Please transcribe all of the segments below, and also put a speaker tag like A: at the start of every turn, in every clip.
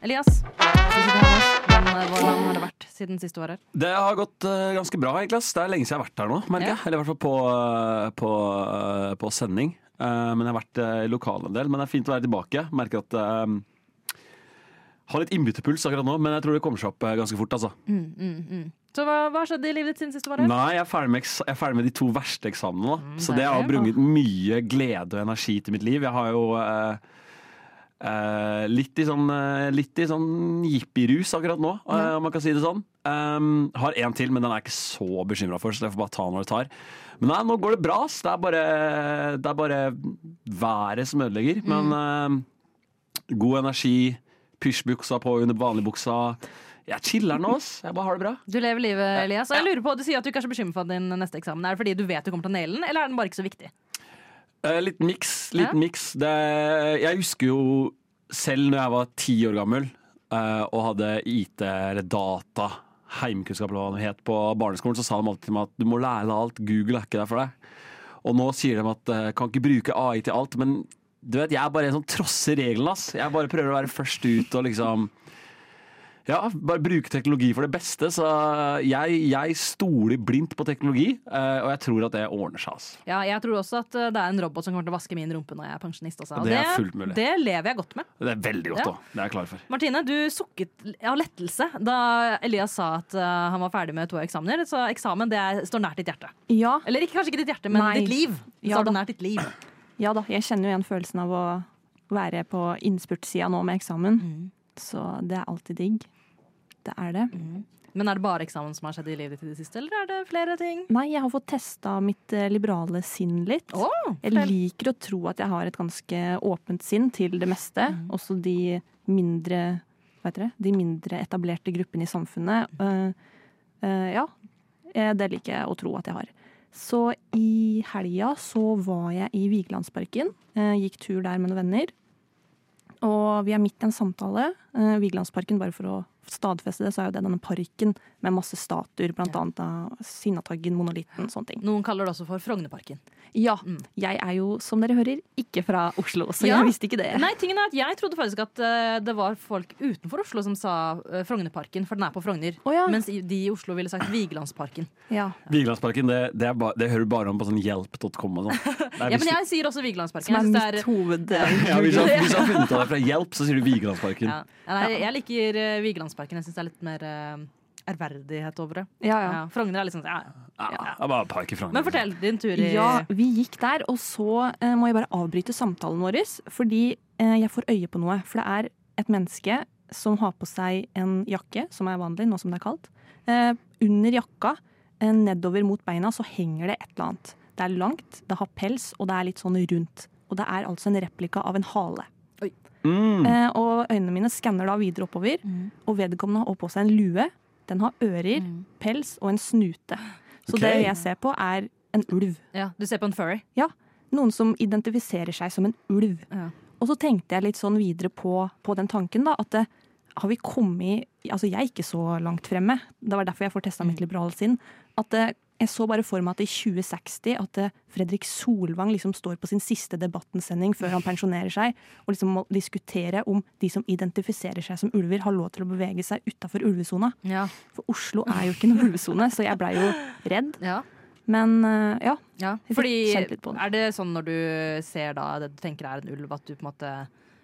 A: Elias, hvordan, hvordan har det vært siden sist du var her?
B: Det har gått eh, ganske bra, egentlig. ass. Det er lenge siden jeg har vært her nå, merker
A: Ja.
B: jeg. Eller i hvert fall på, eh, på, eh, på sending. Eh, men jeg har vært eh, i lokalet en del. Men det er fint å være tilbake. Merker at eh, Har litt innbytterpuls akkurat nå, men jeg tror det kommer seg opp eh, ganske fort, altså.
A: Mm, Så hva, hva skjedde i livet ditt siden sist du var her?
B: Nei, jeg er ferdig med, eks- jeg er ferdig med de to verste eksamene nå. så
A: det
B: det
A: er
B: har
A: bra.
B: brunget mye glede og energi til mitt liv. Jeg har jo eh, eh, litt i sånn, eh, litt i sånn jippi-rus akkurat nå, eh, om man kan si det sånn. Um, har en til, men den er jeg ikke så bekymra for, så jeg får bare ta den når det tar. Men nei, nå går det bra. ass. Det er bare, det er bare været som
A: Mm.
B: ødelegger. Men eh, god energi, pysjbuksa på under vanligbuksa. Jeg chiller'n nå, ass. Jeg bare har det bra.
A: Du lever livet, Elias. Og jeg lurer på, Du sier at du ikke er så bekymret for din neste eksamen. Er det fordi du vet du kommer til å naile den, eller er den bare ikke så viktig?
B: Eh, litt miks. Litt
A: Ja.
B: mix. Det, jeg husker jo selv når jeg var ti år gammel eh, og hadde IT eller data, heimkunnskap eller hva det het, på barneskolen, så sa de alltid til meg at du må lære deg alt, Google er ikke der for deg. Og nå sier de at eh, kan ikke bruke AI til alt, men du vet, jeg er bare en som trosser reglene, ass. Jeg bare prøver å være først ut og liksom ja, bare bruke teknologi for det beste. Så jeg, jeg stoler blindt på teknologi, eh, og jeg tror at det ordner seg. ass.
A: Ja, Jeg tror også at uh, det er en robot som kommer til å vaske min rumpe når jeg er pensjonist. Altså. Og
B: Det er fullt mulig.
A: det lever jeg godt med.
B: Det er veldig
A: Ja.
B: godt, da. Det er jeg klar for.
A: Martine, du sukket av lettelse da Elias sa at uh, han var ferdig med to eksamener. Så eksamen det er, står nært ditt hjerte.
C: Ja,
A: Eller ikke, kanskje ikke ditt hjerte, men
C: Nei.
A: ditt liv. Det
C: Ja
A: står
C: da.
A: nært ditt liv.
C: ja da, jeg kjenner jo igjen følelsen av å være på innspurtsida nå med eksamen. Så det er alltid digg. Det er det.
A: Men er det bare eksamen som har skjedd i livet ditt i det siste, eller er det flere ting?
C: Nei, jeg har fått testa mitt eh, liberale sinn litt.
A: Åh,
C: Jeg liker å tro at jeg har et ganske åpent sinn til det meste. Også de mindre, hva heter det, de mindre etablerte gruppene i samfunnet. Eh, eh, ja, eh, det liker jeg å tro at jeg har. Så i helga så var jeg i Vigelandsparken. eh, gikk tur der med noen venner. Og vi er midt i en samtale. Eh, Vigelandsparken, bare for å stadfeste det, så er jo det denne parken med masse statuer, blant annet av Sinnataggen, monolitten, sånne ting.
A: Noen kaller det også for Frognerparken.
C: Ja. Jeg er jo, som dere hører, ikke fra Oslo, så
A: Mm. Ja.
C: jeg visste ikke det.
A: Nei, tingen er at Jeg trodde faktisk at eh, det var folk utenfor Oslo som sa eh, Frognerparken, for den er på Frogner.
C: Å ja.
A: Mens i- de i Oslo ville sagt Vigelandsparken.
C: Ja.
B: Vigelandsparken det, det, er ba, det hører du bare om på sånn hjelp.com og sånn. Det er
A: Ja, men jeg
B: hvis-
A: sier også Vigelandsparken.
C: Som er
A: Jeg, synes
C: mitt
A: det er,
C: hoved...
B: ja, hvis du har hvis du har funnet av det fra hjelp, så sier du Vigelandsparken.
A: ja. Nei, jeg liker eh, Vigelandsparken. Jeg syns det er litt mer eh, ærverdighet over det.
C: Ja, ja.
A: Ja, Frogner er litt sånn ja, ja.
B: Ja, det er bare park i Frogner.
A: Men fortell din tur
B: eh,
A: i
C: ja, vi gikk der, og så eh, må jeg bare avbryte samtalen vår, fordi eh, jeg får øye på noe. For det er et menneske som har på seg en jakke, som er vanlig nå som det er kaldt. Eh, under jakka, eh, nedover mot beina, så henger det et eller annet. Det er langt, det har pels, og det er litt sånn rundt. Og det er altså en replika av en hale.
B: Mm.
C: Eh, og øynene mine skanner da videre oppover, og vedkommende har også på seg en lue. Den har ører, pels og en snute.
B: Mm.
C: Så
B: Ok.
C: det jeg ser på, er en ulv.
A: Ja, du ser på en furry.
C: Ja, noen som identifiserer seg som en ulv.
A: Ja.
C: Og så tenkte jeg litt sånn videre på, på den tanken, da, at det, har vi kommet Altså, jeg er ikke så langt fremme. Det var derfor jeg får testa mitt liberale sinn. At det, jeg så bare for meg at i 2060 at det, Fredrik Solvang liksom står på sin siste debattensending før han pensjonerer seg, og liksom må diskutere om de som identifiserer seg som ulver, har lov til å bevege seg utafor ulvesona.
A: Ja.
C: For Oslo er jo ikke noen ulvesone, så jeg blei jo redd.
A: Ja.
C: Men eh, ja.
A: Ja,
C: Jeg fikk
A: fordi
C: kjent litt på det.
A: er det sånn når du ser da det du tenker er en ulv, at du på en måte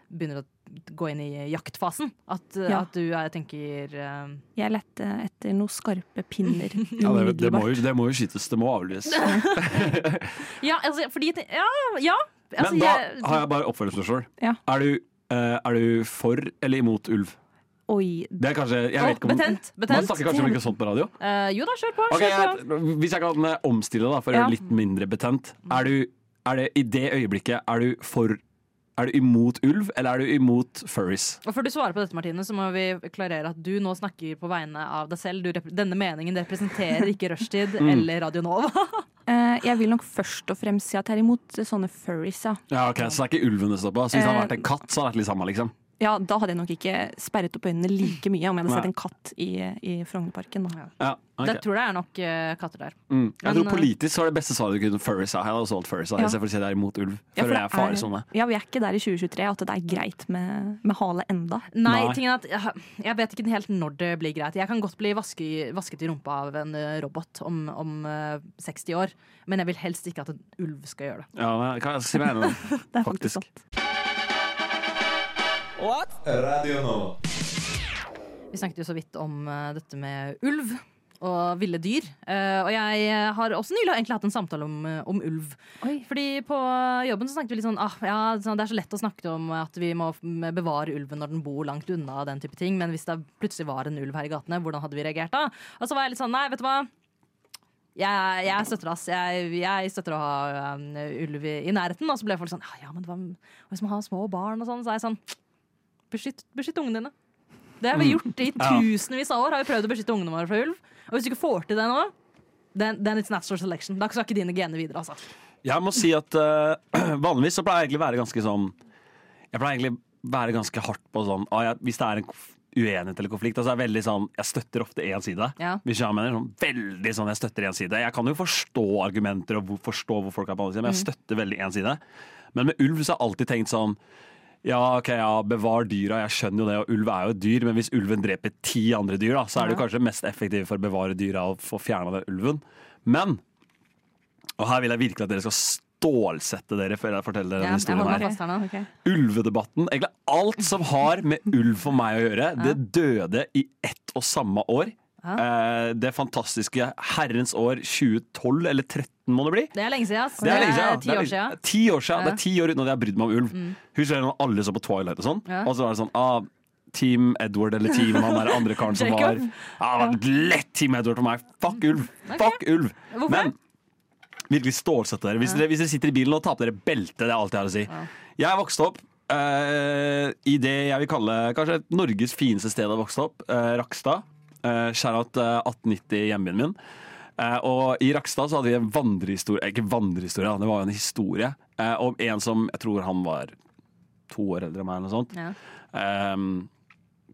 A: begynner å gå inn i jaktfasen? At, eh,
C: Ja.
A: at du er, tenker eh,
C: Jeg lette etter noen skarpe pinner.
B: Ja, det, det, må
C: umiddelbart.
B: jo, det må jo skytes. Det må avlives.
A: Ja, altså, fordi jeg ten- Ja! ja altså,
B: Men da
A: jeg,
B: har jeg bare oppfølgingsspørsmål.
C: Ja.
B: Er, du, eh, er du for eller imot ulv?
C: Oi.
B: Det er kanskje jeg vet ikke om,
A: betent!
B: Man
A: betent.
B: snakker kanskje om ikke sånt på radio?
A: Eh, jo da, kjør på.
B: Ok,
A: kjør på.
B: jeg, hvis jeg kan eh, omstille da, for å
C: Ja. Mm.
B: gjøre det litt mindre betent. Er du, er det, I det øyeblikket, er du, for, er du imot ulv, eller er du imot furries?
A: Og Før du svarer på dette, Martine, så må vi klarere at du nå snakker på vegne av deg selv. Du rep denne meningen representerer ikke Rushtid
B: Mm.
A: eller Radio Nova.
C: Eh, jeg vil nok først og fremst si at jeg er imot sånne furries, ja. Eh,
B: Ja, ok, Så det er ikke ulven det står på? Så hvis det hadde vært en katt, så hadde det vært litt samme, liksom?
C: ja, da hadde jeg nok ikke sperret opp øynene like mye om jeg hadde sett
B: Nei.
C: en katt i, i Frognerparken. Da.
B: Ja, ok.
A: Det tror jeg er nok eh, katter der.
B: Mm. Jeg
A: Men,
B: tror politisk så er det beste svaret du kunne furries av. Jeg hadde også valgt furries av,
C: eh, Ja.
B: i stedet for å si det er imot ulv.
C: Ja, for
B: Føler
C: det
B: jeg er
C: er-
B: farezone.
C: Ja, Vi er ikke der i 2023 at det er greit med, med hale enda.
A: Nei,
B: Nei.
A: tingen er at jeg, jeg vet ikke helt når det blir greit. Jeg kan godt bli vaske, vasket i rumpa av en eh, robot om, om eh, 60 år, men jeg vil helst ikke at en ulv skal gjøre det.
B: Ja, men hva- si meg enig.
C: Det er
B: Faktisk.
C: faktisk sant.
D: Radio Nova.
A: Vi snakket jo så vidt om eh, dette med ulv og ville dyr. Eh, og jeg eh, har også nylig egentlig hatt en samtale om, eh, om ulv.
C: Oi.
A: Fordi på jobben så snakket vi litt sånn ah, ja, sånn, Det er så lett å snakke om at vi må f- bevare ulven når den bor langt unna, og den type ting. Men hvis det plutselig var en ulv her i gatene, hvordan hadde vi reagert da? Og så var jeg litt sånn nei, vet du hva. Jeg, jeg støtter ass. Jeg, jeg støtter å ha um, ulv i, i nærheten. Og så ble folk sånn ja, ja, men hva og hvis man har små barn og sånn? Så er jeg sånn beskytt, beskytt ungene dine. Det har vi gjort i
B: Ja.
A: tusenvis av år. Har vi prøvd å beskytte ungene våre fra ulv. Og hvis du ikke får til det nå, then, then it's natural selection. Da skal ikke dine gener videre, altså.
B: Jeg må si at eh, vanligvis så pleier jeg egentlig å være ganske sånn Jeg pleier egentlig å være ganske hardt på sånn ah, jeg, Hvis det er en konf- uenighet eller konflikt, altså jeg er veldig sånn Jeg støtter ofte én side.
A: Ja.
B: Hvis jeg mener sånn veldig sånn jeg støtter én side. Jeg kan jo forstå argumenter og hvor- forstå hvor folk er på andre siden, men jeg støtter veldig én side. Men med ulv så har jeg alltid tenkt sånn ja, ok, ja, bevar dyra, jeg skjønner jo det, og ulv er jo et dyr, men hvis ulven dreper ti andre dyr, da, så er det jo kanskje mest effektivt for å bevare dyra og få fjerna den ulven. Men og her vil jeg virkelig at dere skal stålsette dere før jeg forteller dere
A: Ja,
B: denne
A: jeg holder meg
B: historien her.
A: fast her nå. Eh,
C: Ok.
B: Ulvedebatten, egentlig alt som har med ulv for meg å gjøre, det døde i ett og samme år. Eh, Det fantastiske herrens år 2012, eller 13 må det bli.
A: Det er lenge siden, ass.
B: Det er lenge siden. Mm.
A: ti
B: ja. Det er
A: år
B: lenge-
A: siden.
B: Ti år siden. Det er ti år uten at jeg har brydd meg om ulv. Husker dere når alle så på Twilight og sånn?
A: Ja.
B: Og så var det sånn ah, Team Edward eller Team han der andre karen som var
A: Jacob.
B: ja, Mm. det var Lett Team Edward for meg! Fuck ulv! Fuck ulv!
A: Hvorfor?
B: Men virkelig stålsett dere. Hvis, dere. hvis dere sitter i bilen og tar på dere belte, det er alt jeg har å si. Jeg vokste opp eh, i det jeg vil kalle kanskje Norges fineste sted å vokse opp, eh, Rakstad. Uh, Skjærat 1890 i hjembyen min. Eh, og i Rakstad så hadde vi en vandrehistorie, eh, ikke vandrehistorie, da, det var jo en historie eh, om en som jeg tror han var to år eldre enn meg eller noe sånt.
A: Ja.
B: Ehm,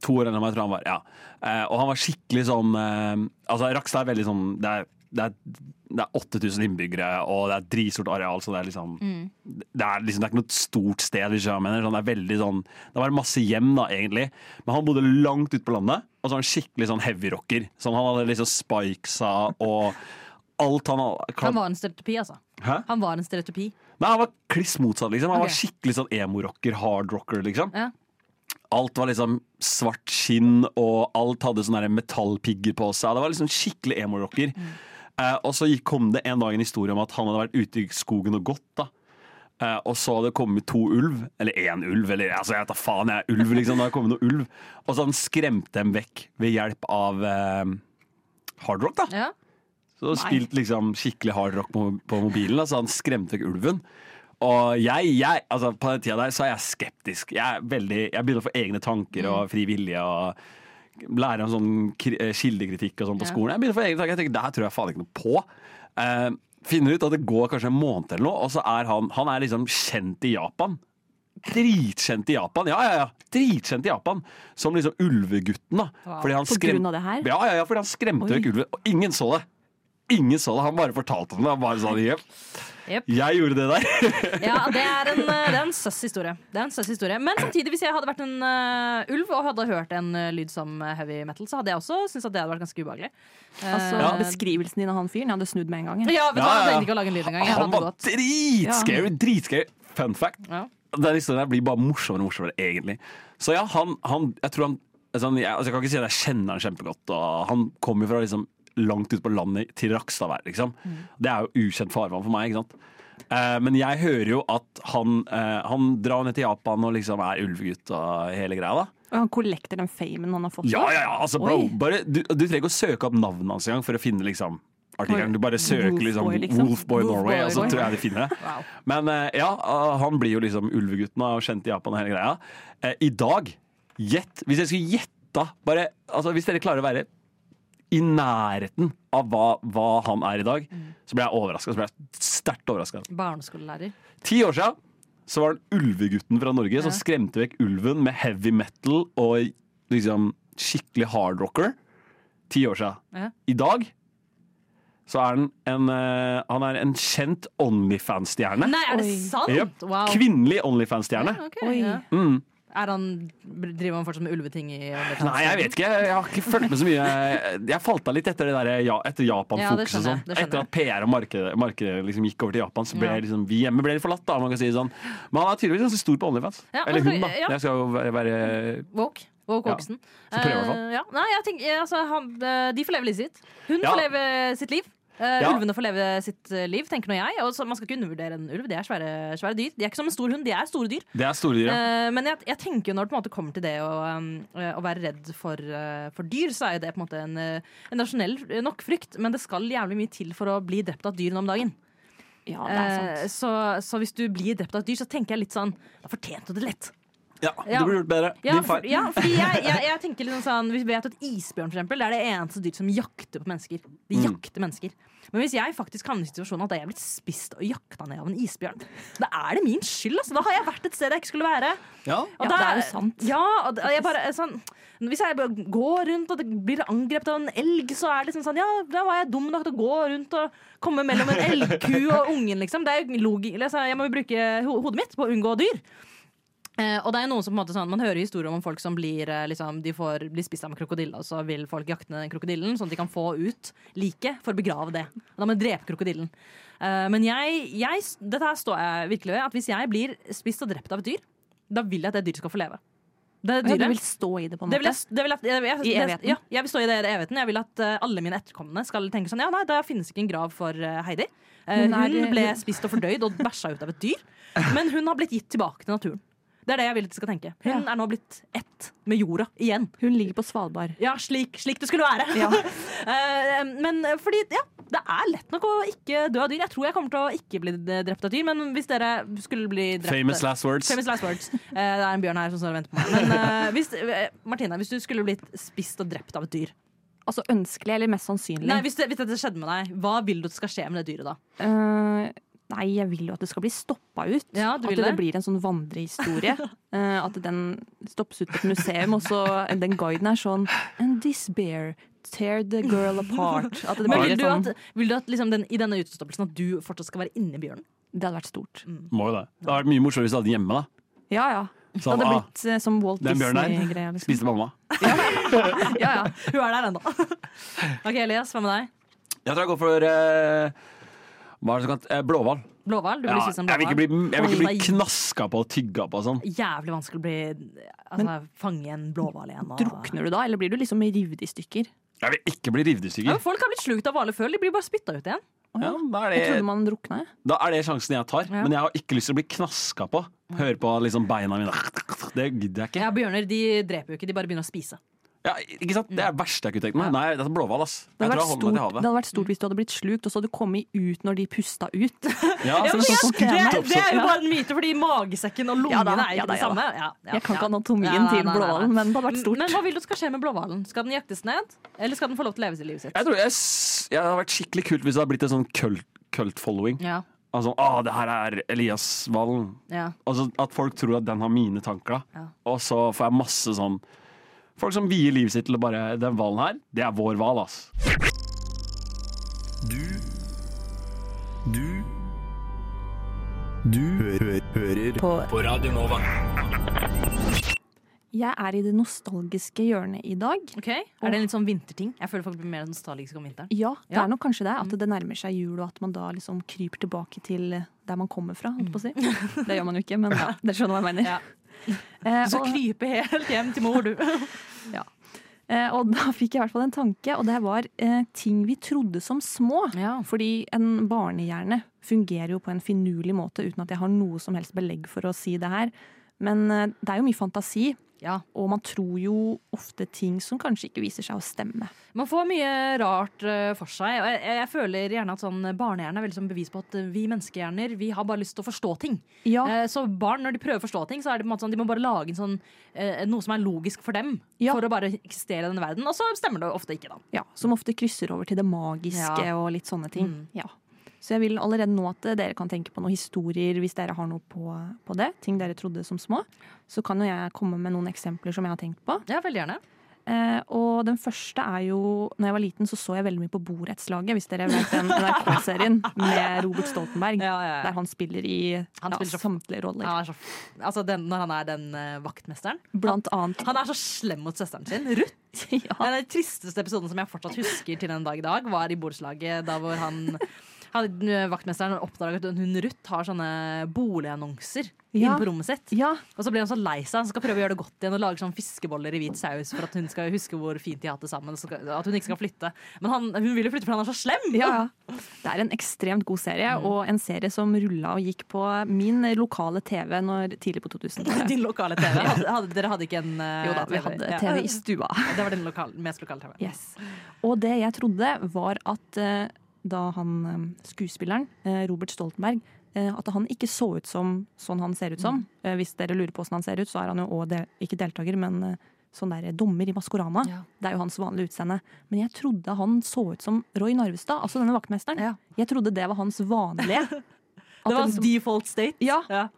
B: to år eldre enn meg, tror jeg han var. Ja. Eh, og han var skikkelig sånn eh, Altså, Rakstad er veldig sånn Det er, det er, det er 8000 innbyggere, og det er et dritstort areal, så det er liksom
A: Mm.
B: det, er liksom det er ikke noe stort sted. Hvis jeg mener. Sånn, det er veldig sånn Det var masse hjem, da, egentlig. Men han bodde langt ute på landet, og så var han skikkelig sånn heavyrocker. Sånn, han hadde liksom spikesa og alt han
A: Han var en stereotypi, altså.
B: Hæ?
A: Han var en stereotypi.
B: Nei, han var kliss motsatt, liksom. Han
A: Ok.
B: var skikkelig sånn emo-rocker, hard-rocker, liksom.
A: Ja.
B: Alt var liksom svart skinn, og alt hadde sånne der metallpigger på seg. Det var liksom skikkelig emo-rocker.
A: Mm.
B: Eh, og så gikk- kom det en dag en historie om at han hadde vært ute i skogen og gått, da. Eh, og så hadde det kommet to ulv, eller én ulv, eller altså, jeg tar faen, jeg er ulv, liksom. Det hadde kommet noen ulv. Og så hadde han skremt dem vekk ved hjelp av eh, hardrock, da.
A: Ja.
B: Så han spilt liksom skikkelig hard rock på, på mobilen, altså han skremte vekk ulven. Og jeg, jeg altså på den tida der så er jeg skeptisk. Jeg, er veldig, jeg begynner å få egne tanker
A: Mm.
B: og fri vilje. og lære om sånn kri- eh, kildekritikk og sånn på
A: Ja.
B: skolen. Jeg begynner å få egne tanker. Jeg tenker, Det her tror jeg faen ikke noe på. Eh, finner ut at det går kanskje en måned eller noe, og så er han, han er liksom kjent i Japan. Dritkjent i Japan. Ja, ja, ja. Dritkjent i Japan. Som liksom ulvegutten, da.
A: Wow.
B: Fordi han
C: På
B: skrem-
C: grunn av det her?
B: Ja, ja, ja, fordi han skremte vekk ulven. Og ingen så det. Ingen så det. Han bare fortalte om det. Han bare sa det. Jep,
A: Jep.
B: jeg gjorde det der.
A: ja, det er en, eh, det er en søss historie. Det er en søss historie. Men samtidig, hvis jeg hadde vært en eh, ulv og hadde hørt en eh, lyd som eh, heavy metal, så hadde jeg også syntes at det hadde vært ganske ubehagelig. Eh,
C: Altså,
B: Ja.
C: Beskrivelsen din av han fyren, jeg hadde snudd med en gang. jeg.
A: ja, vet du hva,
B: Ja,
A: jeg
B: ja, ja.
A: trengte ikke å lage en lyd engang. Jeg hadde
B: Han var
A: gått.
B: dritscary. Dritscary. Fun fact.
A: Ja.
B: Den historien her blir bare morsommere og morsommere, egentlig. Så ja, han, han Jeg tror han altså, han- jeg, altså, jeg kan ikke si at jeg kjenner han kjempegodt. Og han kommer fra liksom langt ut på landet til Rakstadvær, liksom.
C: Mm.
B: Det er jo ukjent farvann for meg, ikke sant. Eh, men jeg hører jo at han, eh, han drar ned til Japan og liksom er ulvegutt og hele greia, da.
C: Og han kollekter den famen han har fått.
B: Ja, ja, ja, altså bro
C: Oi.
B: bare, du, du trenger ikke å søke opp navnet hans engang for å finne liksom artikkelen. Du bare søker
C: Wolfboy,
B: liksom,
C: liksom.
B: Wolfboy Norway, og så
C: Wolfboy.
B: tror jeg de finner det.
A: Wow.
B: Men eh, ja, eh, han blir jo liksom ulvegutten og kjent i Japan og hele greia. Eh, I dag, gjett Hvis jeg skulle gjetta bare, altså, Hvis dere klarer å være i nærheten av hva, hva
C: Mm.
B: han er i dag, så ble jeg overraska. Sterkt overraska.
A: Barneskolelærer.
B: Ti år siden så var det ulvegutten fra Norge som skremte vekk ulven med heavy metal og liksom skikkelig hardrocker. Ti år siden.
A: Ja.
B: I dag så er han en, eh, han er en kjent Onlyfans-stjerne.
A: Nei, er det
C: Oi.
A: sant?!
B: Jep.
A: Wow.
B: Kvinnelig Onlyfans-stjerne.
A: Ok,
C: Oi.
A: ja.
B: Mm.
A: Er han, driver han fortsatt med ulveting i
B: Nei, jeg vet ikke. Jeg har ikke fulgt med så mye. Jeg falt av litt etter, det der, ja,
A: Ja, det
B: etter Japan-fokuset. og
A: skjønner jeg,
B: sånn.
A: det skjønner
B: Etter at PR og markedet, markedet liksom gikk over til Japan, så ble
A: Ja.
B: liksom, vi hjemme ble litt forlatt. Da, om man kan si det sånn. Men han er tydeligvis ganske stor på OnlyFans.
A: Ja,
B: Eller
A: men
B: hun, da.
A: skal- ja.
B: Jeg skal jo være, være
A: Woke. Woke
B: Ja.
A: Oksen.
B: Så prøver i hvert fall.
A: Eh, ja. Nei, jeg tenker, eh, altså, han, eh, de får leve livet sitt. Hun
B: Ja.
A: får leve sitt liv. Eh,
B: Ja.
A: Ulvene får leve sitt eh, liv, tenker nå jeg. Og så, man skal ikke undervurdere en ulv. De er svære, svære dyr. De er ikke som en stor hund, de er store dyr.
B: Det er store dyr, ja.
A: Eh, men jeg, jeg tenker jo når det på en måte kommer til det å, um, eh, å være redd for, eh, for dyr, så er jo det på en måte en, eh, en rasjonell eh, nok frykt. Men det skal jævlig mye til for å bli drept av dyr nå om dagen.
C: Ja, det er
A: Eh,
C: sant.
A: så, så hvis du blir drept av et dyr, så tenker jeg litt sånn Da fortjente du det lett.
B: ja.
A: ja.
B: Det blir gjort bedre.
A: Ja,
B: Din
A: for,
B: feil.
A: ja, fordi jeg, jeg, jeg tenker liksom sånn Vi vet at isbjørn for eksempel, det er det eneste dyr som jakter på mennesker. De
B: Mm.
A: jakter mennesker Men hvis jeg faktisk havner i situasjonen at jeg er blitt spist og jakta ned av en isbjørn, da er det min skyld. Altså. Da har jeg vært et sted jeg ikke skulle være.
B: Ja.
A: Og
C: Ja,
A: da-
C: det er jo sant.
A: Ja, og da- jeg bare, sånn, hvis jeg bare går rundt og det blir angrepet av en elg, så er det liksom sånn Ja, da var jeg dum nok til å gå rundt og komme mellom en elgku og ungen, liksom. Det er jo logi altså, jeg må jo bruke ho hodet mitt på å unngå dyr. Eh, og det er jo noen som på en måte sånn, Man hører historier om folk som blir, eh, liksom, de får, blir spist av en krokodille, og så vil folk jakte ned den krokodillen, sånn at de kan få ut liket for å begrave det. Og da må de drepe krokodillen. Eh, men jeg, jeg, dette her står jeg virkelig ved, at hvis jeg blir spist og drept av et dyr, da vil jeg at det dyret skal få leve. Det
C: Ja, du
A: dyret
C: vil stå i det, på en
A: det vil
C: måte.
A: jeg, det vil jeg, jeg, jeg,
C: I evigheten.
A: Ja, jeg vil stå i det i evigheten. Jeg vil at eh, alle mine etterkommende skal tenke sånn Ja, nei, da finnes ikke en grav for eh, Heidi. Eh,
C: Hun er-
A: hun ble spist og fordøyd og bæsja ut av et dyr. Men hun har blitt gitt tilbake til naturen. Det er det jeg vil at de skal tenke. Hun
C: Ja.
A: er nå blitt ett med jorda igjen.
C: Hun ligger på Svalbard.
A: Ja, slik, slik det skulle være.
C: Ja.
A: Eh, men eh, fordi, ja, det er lett nok å ikke dø av dyr. Jeg tror jeg kommer til å ikke bli drept av dyr, men hvis dere skulle bli drept
B: Famous last words.
A: Famous last words. Eh, det er en bjørn her som står og venter på meg. Men eh, hvis, eh, Martine, hvis du skulle blitt spist og drept av et dyr
C: Altså ønskelig, eller mest sannsynlig.
A: Nei, hvis, det, hvis dette skjedde med deg, hva vil du at skal skje med det dyret da?
C: Eh, nei, jeg vil jo at det skal bli stoppa ut.
A: Ja, du
C: at
A: vil
C: det,
A: det.
C: blir en sånn vandrehistorie. Eh, at den stoppes ut på et museum, og så den guiden er sånn And this bear tear the girl apart. At det
A: Men
C: blir
A: vil du
C: et sånn
A: at, vil du at liksom den, i denne utstoppelsen at du fortsatt skal være inni bjørnen?
C: Det hadde vært stort.
A: Mm.
B: Må jo det. Det hadde vært mye morsommere hvis du hadde den hjemme. da
C: Ja, ja. Det
B: Sånn,
C: hadde
B: ah,
C: blitt eh, som Walt
B: Den bjørnen der.
C: Disney-greia. Liksom.
B: Spiste mamma.
A: Ja, ja. Hun er der ennå. OK, Elias, hva med deg?
B: Jeg tror jeg går for eh, hva er det som kan eh, Blåhval.
A: Blåhval? Du
B: Ja,
A: blir spist som
B: jeg vil ikke
A: blåhval.
B: bli, jeg vil ikke
A: Oi.
B: bli knaska på og tygga på og sånn.
A: Jævlig vanskelig å bli altså, fange en blåhval igjen. og-
C: Drukner du da, eller blir du liksom revet i stykker?
B: Jeg vil ikke bli revet i
A: Ja,
B: stykker.
A: men folk har blitt slukt av hvaler før. De blir bare spytta ut igjen.
B: Ja, da, er
C: Jeg trodde
B: det,
C: man drukna, jeg.
B: da er det sjansen jeg tar.
A: Ja.
B: Men jeg har ikke lyst til å bli knaska på. Høre på liksom beina mine. Det gidder jeg ikke.
A: Ja, Bjørner de dreper jo ikke, de bare begynner å spise.
B: Ja, ikke sant? Det er det verste jeg kunne tenkt meg. Nei, det er blåhval, ass. Jeg
C: Det hadde,
B: tror jeg holder meg
C: vært stort,
B: til
C: det
B: havet.
C: hadde vært stort hvis du hadde blitt slukt, og så hadde du kommet ut når de pusta ut.
A: Ja, men jeg-
B: Ja, så det er sånn
A: Altså, det,
B: skutt opp,
A: det er jo
B: så-
A: bare en myte, fordi magesekken og lungene
C: Ja da,
A: er jo
C: ja da,
A: det
C: ja da.
A: samme. Ja, ja,
C: Jeg kan
A: ja.
C: ikke anatomien
A: Ja, nei,
C: til
A: nei, nei, nei.
C: blåhvalen, men det hadde vært stort.
A: Men hva vil du skal skje med blåhvalen? Skal den jaktes ned, eller skal den få lov til å leve sitt livet sitt?
B: Jeg tror jeg, s- jeg hadde vært skikkelig kult hvis det hadde blitt en sånn kult, kult following.
A: Ja,
B: Altså, ah, det her er Elias-hvalen.
A: ja.
B: Altså, at folk tror at den har mine tanker. da.
A: Ja.
B: Og så får jeg masse sånn Folk som vier livet sitt til å bare Den hvalen her, det er vår hval, ass.
E: Du Du Du hø hø hører på. på Radio Nova.
C: Jeg er i det nostalgiske hjørnet i dag.
A: Ok, Er det en litt sånn vinterting? Jeg føler folk blir mer nostalgiske om vinteren.
C: Ja, det
A: Ja. Mm.
C: er nok kanskje det. At det nærmer seg jul, og at man da liksom kryper tilbake til der man kommer fra. Holdt på å si. Det gjør man jo ikke, men ja, dere skjønner hva jeg mener.
A: Mm. Ja.
C: Eh,
A: Så
C: og,
A: krype helt hjem til mor, du.
C: eh, og da fikk jeg i hvert fall en tanke, og det var eh, ting vi trodde som små.
A: Ja.
C: Fordi en barnehjerne fungerer jo på en finurlig måte, uten at jeg har noe som helst belegg for å si det her. Men eh, det er jo mye fantasi,
A: ja.
C: og man tror jo ofte ting som kanskje ikke viser seg å stemme.
A: Man får mye rart eh, for seg. Og jeg, jeg føler gjerne at sånn barnehjerne er veldig sånn bevis på at eh, vi menneskehjerner vi har bare lyst til å forstå ting.
C: Ja.
A: Eh, Så barn, når de prøver å forstå ting, så er det på en måte sånn, de må bare lage en sånn, eh, noe som er logisk for dem.
C: Ja.
A: For å bare eksistere i denne verden. Og så stemmer det ofte ikke, da.
C: Ja, som ofte krysser over til det magiske
A: Ja. Mm.
C: og litt sånne ting. Ja. Så jeg vil allerede nå at dere kan tenke på noen historier hvis dere har noe på, på det. Ting dere trodde som små. Så kan jo jeg komme med noen eksempler som jeg har tenkt på.
A: Ja, veldig gjerne.
C: Eh, og den første er jo Når jeg var liten, så så jeg veldig mye på Borettslaget, hvis dere vet den NRK-serien med Robert Stoltenberg.
A: Ja, ja, ja.
C: Der han spiller i
A: Han
C: ja,
A: spiller så-
C: samtlige roller.
A: Han er så, f- altså den, når han er den eh, vaktmesteren.
C: Blant annet.
A: Han er så slem mot søsteren sin, Ruth.
C: Ja.
A: Den tristeste episoden som jeg fortsatt husker til den dag i dag, var i borettslaget da hvor han han, eh, vaktmesteren oppdaget at hun Ruth har sånne boligannonser
C: Ja.
A: inne på rommet sitt.
C: ja.
A: Og så blir han så lei seg, han skal prøve å gjøre det godt igjen og lage sånn fiskeboller i hvit saus for at hun skal huske hvor fint de har hatt det sammen. så skal- At hun ikke skal flytte. Men han, hun vil jo flytte, for han er så slem!
C: Ja, Mm. ja. Det er en ekstremt god serie, og en serie som rulla og gikk på min lokale TV når, tidlig på 2000-tallet.
A: Din lokale TV. Hadde, hadde, dere hadde ikke en eh,
C: Jo da, vi hadde
A: Ja.
C: TV i stua.
A: Det var din lokal, mest lokale TV.
C: Yes. Og det jeg trodde, var at eh, da han eh, skuespilleren, eh, Robert Stoltenberg, eh, at han ikke så ut som sånn han ser ut
A: Mm.
C: som. Eh, hvis dere lurer på hvordan han ser ut, så er han jo òg del ikke deltaker, men eh, sånn der dommer i Maskorama.
A: Ja.
C: Det er jo hans vanlige utseende. Men jeg trodde han så ut som Roy Narvestad, altså denne vaktmesteren.
A: Ja.
C: Jeg trodde det var hans vanlige. At
A: Det var hans
C: liksom-
A: default state.
C: ja,
A: Ja.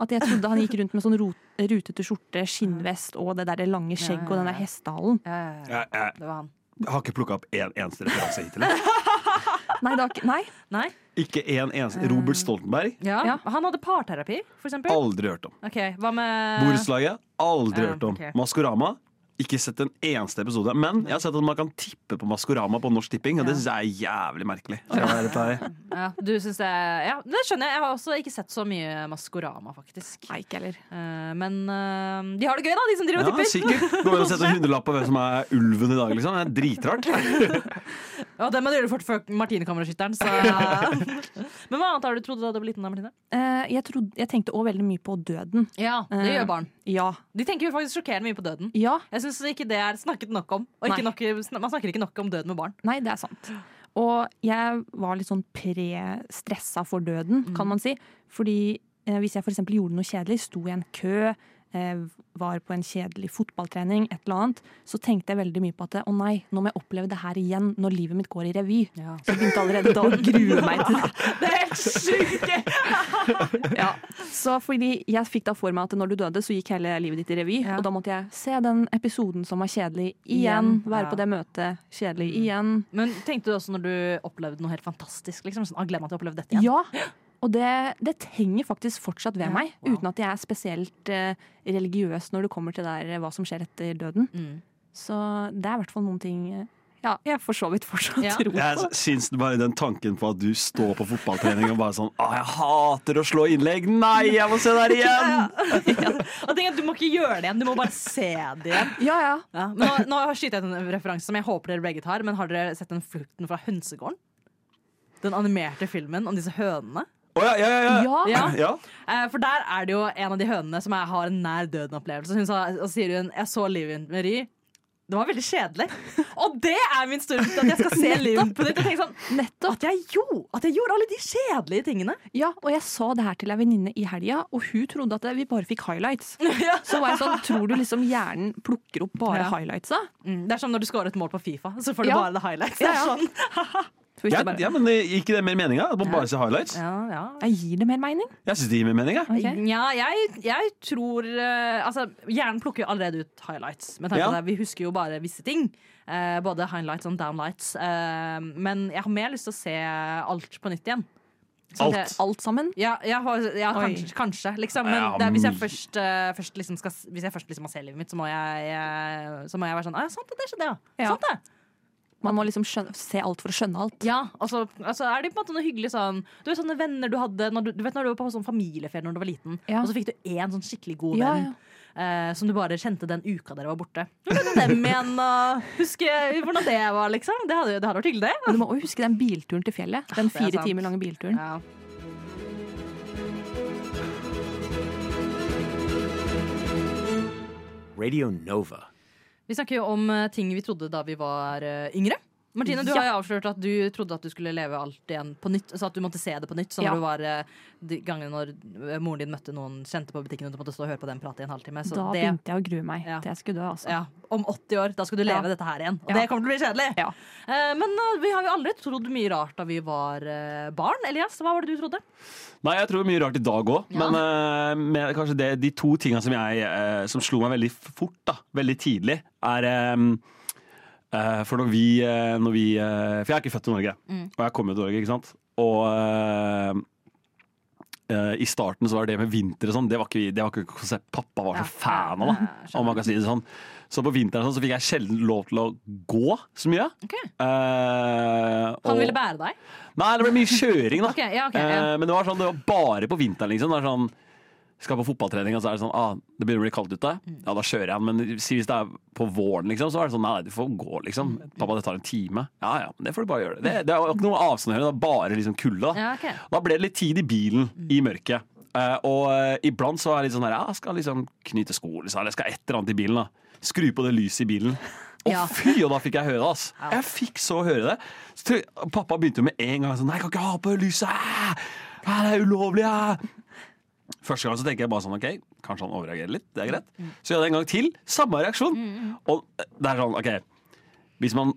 C: at jeg trodde han gikk rundt med sånn rot, rutete skjorte, skinnvest og det der lange skjegget og den der hestehalen.
A: Det
B: Jeg, jeg
A: var han.
B: har ikke plukka opp en eneste referanse hittil. jeg.
C: Nei, det var ikke, nei,
A: Nei?
B: Ikke en eneste. Robert Stoltenberg?
A: Ja.
C: Ja.
A: Han hadde parterapi, for eksempel.
B: Aldri hørt om.
A: Ok, Hva med
B: Borettslaget? Aldri
A: Eh, Ja,
B: hørt om.
A: ok.
B: Maskorama? Ikke sett en eneste episode. Men jeg har sett at man kan tippe på Maskorama på Norsk Tipping, og det syns jeg er jævlig merkelig. Skal jeg være ærlig.
A: ja, du synes det, ja, det skjønner jeg. Jeg har også ikke sett så mye Maskorama, faktisk.
C: nei, ikke heller.
A: Eh, men eh, de har det gøy, da, de som driver og
B: Ja,
A: tipper.
B: sikkert. Går an å sette en hundrelapp på hvem som er ulven i dag, liksom. Det er dritrart.
A: Ja, det må du gjøre fort før Martine-kameraskytteren. Så. men hva annet har du trodd da du var liten? da, Martine?
C: Eh, jeg, trodde, jeg tenkte òg veldig mye på døden.
A: Ja, Det
C: Eh,
A: gjør barn.
C: Ja.
A: De tenker jo faktisk sjokkerende mye på døden.
C: ja.
A: Jeg synes ikke det er snakket nok om. Og ikke nok, man snakker ikke nok om døden med barn.
C: Nei, det er sant. Og jeg var litt sånn pre-stressa for døden,
A: Mm.
C: kan man si. Fordi eh, hvis jeg f.eks. gjorde noe kjedelig, sto i en kø, eh, var på en kjedelig fotballtrening, et eller annet, så tenkte jeg veldig mye på at å nei, nå må jeg oppleve det her igjen når livet mitt går i revy.
A: Ja.
C: Så jeg begynte allerede da å grue meg til det.
A: Det er helt sjukt!
C: Ja. Så fordi jeg fikk da for meg at når du døde, så gikk hele livet ditt i revy.
A: Ja.
C: Og da måtte jeg se den episoden som var kjedelig,
A: Igjen,
C: igjen. Være
A: ja. Mm.
C: på det møtet, kjedelig, igjen.
A: Men tenkte du også når du opplevde noe helt fantastisk? Liksom, sånn, «Å, gleder meg til å oppleve dette igjen.
C: Ja. Og det, det henger faktisk fortsatt ved
A: Ja,
C: meg,
A: wow.
C: uten at jeg er spesielt eh, religiøs når det kommer til der, eh, hva som skjer etter døden.
A: Mm.
C: Så det er i hvert fall noen ting eh, ja, jeg for så vidt fortsatt
A: Ja.
C: tror på.
B: Jeg syns bare den tanken på at du står på fotballtrening og bare sånn Å, jeg hater å slå innlegg! Nei, jeg må se der igjen!
A: Og tenk at Du må ikke gjøre det igjen, du må bare se det igjen.
C: Ja, ja.
A: Ja, men nå, nå skyter jeg ut en referanse som jeg håper dere begge tar, men har dere sett den flukten fra hønsegården? Den animerte filmen om disse hønene.
B: Å ja, ja, ja, ja.
C: Ja.
A: Ja.
B: Ja.
A: Eh, For der er det jo en av de hønene som jeg har en nær døden-opplevelse. Hun sa, og sier hun 'Jeg så livet med Ry'. Det var veldig kjedelig. Og det er min store frykt, at jeg skal se livet på nytt. Og tenke sånn,
C: Nettopp.
A: at, jeg gjorde, at jeg gjorde alle de kjedelige tingene.
C: Ja, og jeg sa det her til ei venninne i helga, og hun trodde at vi bare fikk highlights.
A: Ja.
C: Så var jeg sånn, tror du liksom hjernen plukker opp
A: Ja.
C: bare highlightsa?
A: Mm, Det er som når du scorer et mål på Fifa, så får du
C: Ja.
A: bare the highlights.
C: Ja, ja.
A: Det er sånn.
C: For hvis
B: Ja,
C: jeg bare,
B: ja, men Gir ikke det mer meninga? At man bare ser highlights?
A: ja, ja.
C: Jeg gir det mer mening.
B: Jeg syns det gir mer mening. jeg.
C: Ok.
A: Ja, jeg, jeg tror eh, Altså, Hjernen plukker jo allerede ut highlights. Med tanke
B: Ja.
A: på det, Vi husker jo bare visse ting. Eh, både highlights og downlights. Eh, men jeg har mer lyst til å se alt på nytt igjen. Sånn at jeg-
B: Alt.
C: Alt sammen.
A: Ja, jeg har, ja
C: Oi.
A: kanskje, kanskje liksom. Men
B: Ja,
A: det er, hvis jeg
B: mye.
A: først, eh, først liksom skal s- Hvis jeg først liksom har sett livet mitt, så må jeg, eh, så må jeg være sånn «Ah, Sant det, det skjedde, ja.
C: Ja.
A: Sant det.
C: Man må liksom skjønne, se alt for å skjønne alt.
A: Ja, og så og så er det på en måte noe hyggelig sånn Du vet sånne venner du hadde når du, du vet når du var på sånn familieferie når du var liten,
C: Ja.
A: og så fikk du én sånn skikkelig god
C: Ja,
A: venn eh, som du bare kjente den uka dere var borte. Så møtte du dem igjen og huske hvordan det var, liksom. Det hadde, det hadde vært hyggelig, det.
C: Men du må også huske den bilturen til fjellet. Den
A: det er
C: fire
A: sant.
C: timer lange bilturen.
A: Ja.
F: Radio Nova.
A: Vi snakker jo om eh, ting vi trodde da vi var eh, yngre. Martine, du har jo avslørt at du trodde at du skulle leve alt igjen på nytt. Så at du måtte se det på nytt. Sånn
C: Ja.
A: du var eh, de gangene når eh, moren din møtte noen kjente på butikken, og du måtte stå og høre på den prate i en halvtime. Så
C: Da
A: det,
C: begynte jeg å grue meg
A: Ja.
C: til jeg skulle dø, altså.
A: ja, om 80 år, da skal du leve
C: Ja.
A: dette her igjen. Og
C: Ja.
A: det kommer til å bli kjedelig.
C: Ja.
A: Eh, men eh, vi har jo aldri trodd mye rart da vi var eh, barn. Elias, hva var det du trodde?
B: Nei, jeg tror mye rart i dag òg.
A: Ja.
B: Men eh, med kanskje det, de to tinga som, jeg, eh, som slo meg veldig fort, da, veldig tidlig, er eh, eh, For når vi, eh, når vi eh, For jeg er ikke født i Norge,
A: Mm.
B: og jeg kom jo til Norge, ikke sant? Og eh, eh, i starten så var det med vinter og sånn, det var ikke, vi- det var ikke et konsept pappa var
A: Ja.
B: så fan av. da,
A: Ja, skjønner.
B: om man kan si det sånn. Så på vinteren og sånn, så fikk jeg sjelden lov til å gå så mye. Eh,
A: Han
B: og-
A: ville bære deg.
B: Nei, det ble mye kjøring, da.
A: Ok, ja, ok, ja.
B: Eh, Men det var sånn, det var bare på vinteren, liksom. Det er sånn, skal på fotballtrening, og så er det sånn ah, Det begynner å bli kaldt ute.
A: Mm.
B: Ja, da kjører jeg han. Men si hvis det er på våren, liksom, så er det sånn Nei, nei, du får gå, liksom.
A: Mm.
B: Pappa, det tar en time. Ja ja, men det får du bare gjøre. Det, det er jo ikke noe avstand å gjøre, det er bare liksom kulde. da.
A: Ja, ok. Mm.
B: Da ble det litt tid i bilen i mørket. Eh, og eh, iblant så er jeg litt sånn her, ja, jeg skal liksom knyte sko, liksom, eller jeg skal et eller annet i bilen. da. Skru på det lyset i bilen. Å
A: Ja.
B: fy, og da fikk jeg høre det, ass. Jeg fikk så høre det. Så, tror- pappa begynte jo med en gang sånn, nei, jeg kan ikke ha på lyset! æ! Æ, Det er ulovlig! ah! æ!» Første gang så tenker jeg bare sånn, ok, kanskje han overreagerer litt, det er greit.
A: Mm.
B: Så gjør jeg det en gang til, samme reaksjon. Og det er sånn, ok, hvis man,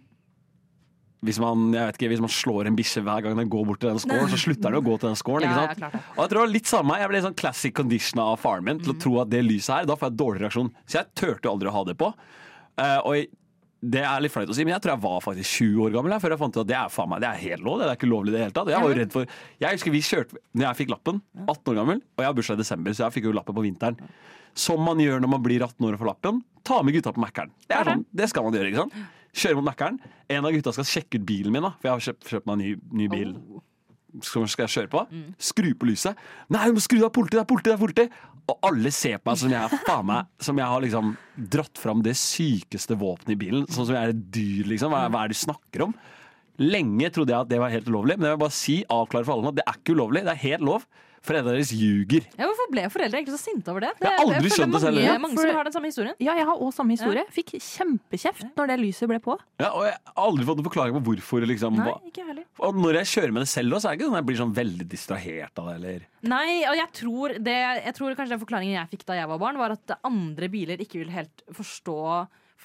B: hvis man, jeg vet ikke, hvis man slår en bikkje hver gang den går bort til den skåren, så slutter den å gå til den skåren,
A: Ja,
B: ikke
A: ja,
B: sant?
A: klart det. Mm.
B: Og jeg tror det var litt samme, jeg ble sånn classic condition av faren min til å tro at det lyset her, da får jeg dårlig reaksjon. Så jeg tørte jo aldri å ha det på. Eh, og jeg, det er litt flaut å si, men jeg tror jeg var faktisk 20 år gammel jeg, før jeg fant ut at det er faen meg, det er helt lov, det er ikke lovlig i det hele tatt. Jeg var jo redd for, jeg husker vi kjørte, når jeg fikk lappen, 18 år gammel, og jeg har bursdag i desember, så jeg fikk jo lappen på vinteren. Som man gjør når man blir 18 år og får lappen, ta med gutta på Mækkern. Det er sånn, det skal man gjøre, ikke sant? Kjøre mot Mækkern. En av gutta skal sjekke ut bilen min da, for jeg har kjøpt, kjøpt meg en ny, ny bil som skal jeg kjøre på. Skru på lyset. Nei, du må skru av politiet, det er politi, det er politi! Og alle ser på meg som jeg, er faen meg, som jeg har liksom dratt fram det sykeste våpenet i bilen. Sånn som jeg er et dyr, liksom. Hva, hva er det du snakker om? Lenge trodde jeg at det var helt ulovlig, men jeg vil bare si, avklare for alle nå, at det er ikke ulovlig. Det er helt lov. Foreldrene deres ljuger.
A: Ja, hvorfor ble foreldre egentlig så sinte over det? det
B: Jeg har aldri
A: jeg føler
B: skjønt det selv,
A: mange,
B: ja.
A: mange
C: For-
A: som har den samme historien.
C: Ja, jeg har òg samme historie. Fikk kjempekjeft når det lyset ble på.
B: Ja, og jeg har aldri fått en forklaring på hvorfor. Liksom,
A: Nei,
B: hva.
A: ikke heller.
B: Og når jeg kjører med det selv, også, så er det ikke sånn at jeg blir sånn veldig distrahert av det. Eller.
A: Nei, og jeg tror, det, jeg tror kanskje den forklaringen jeg fikk da jeg var barn, var at andre biler ikke ville helt forstå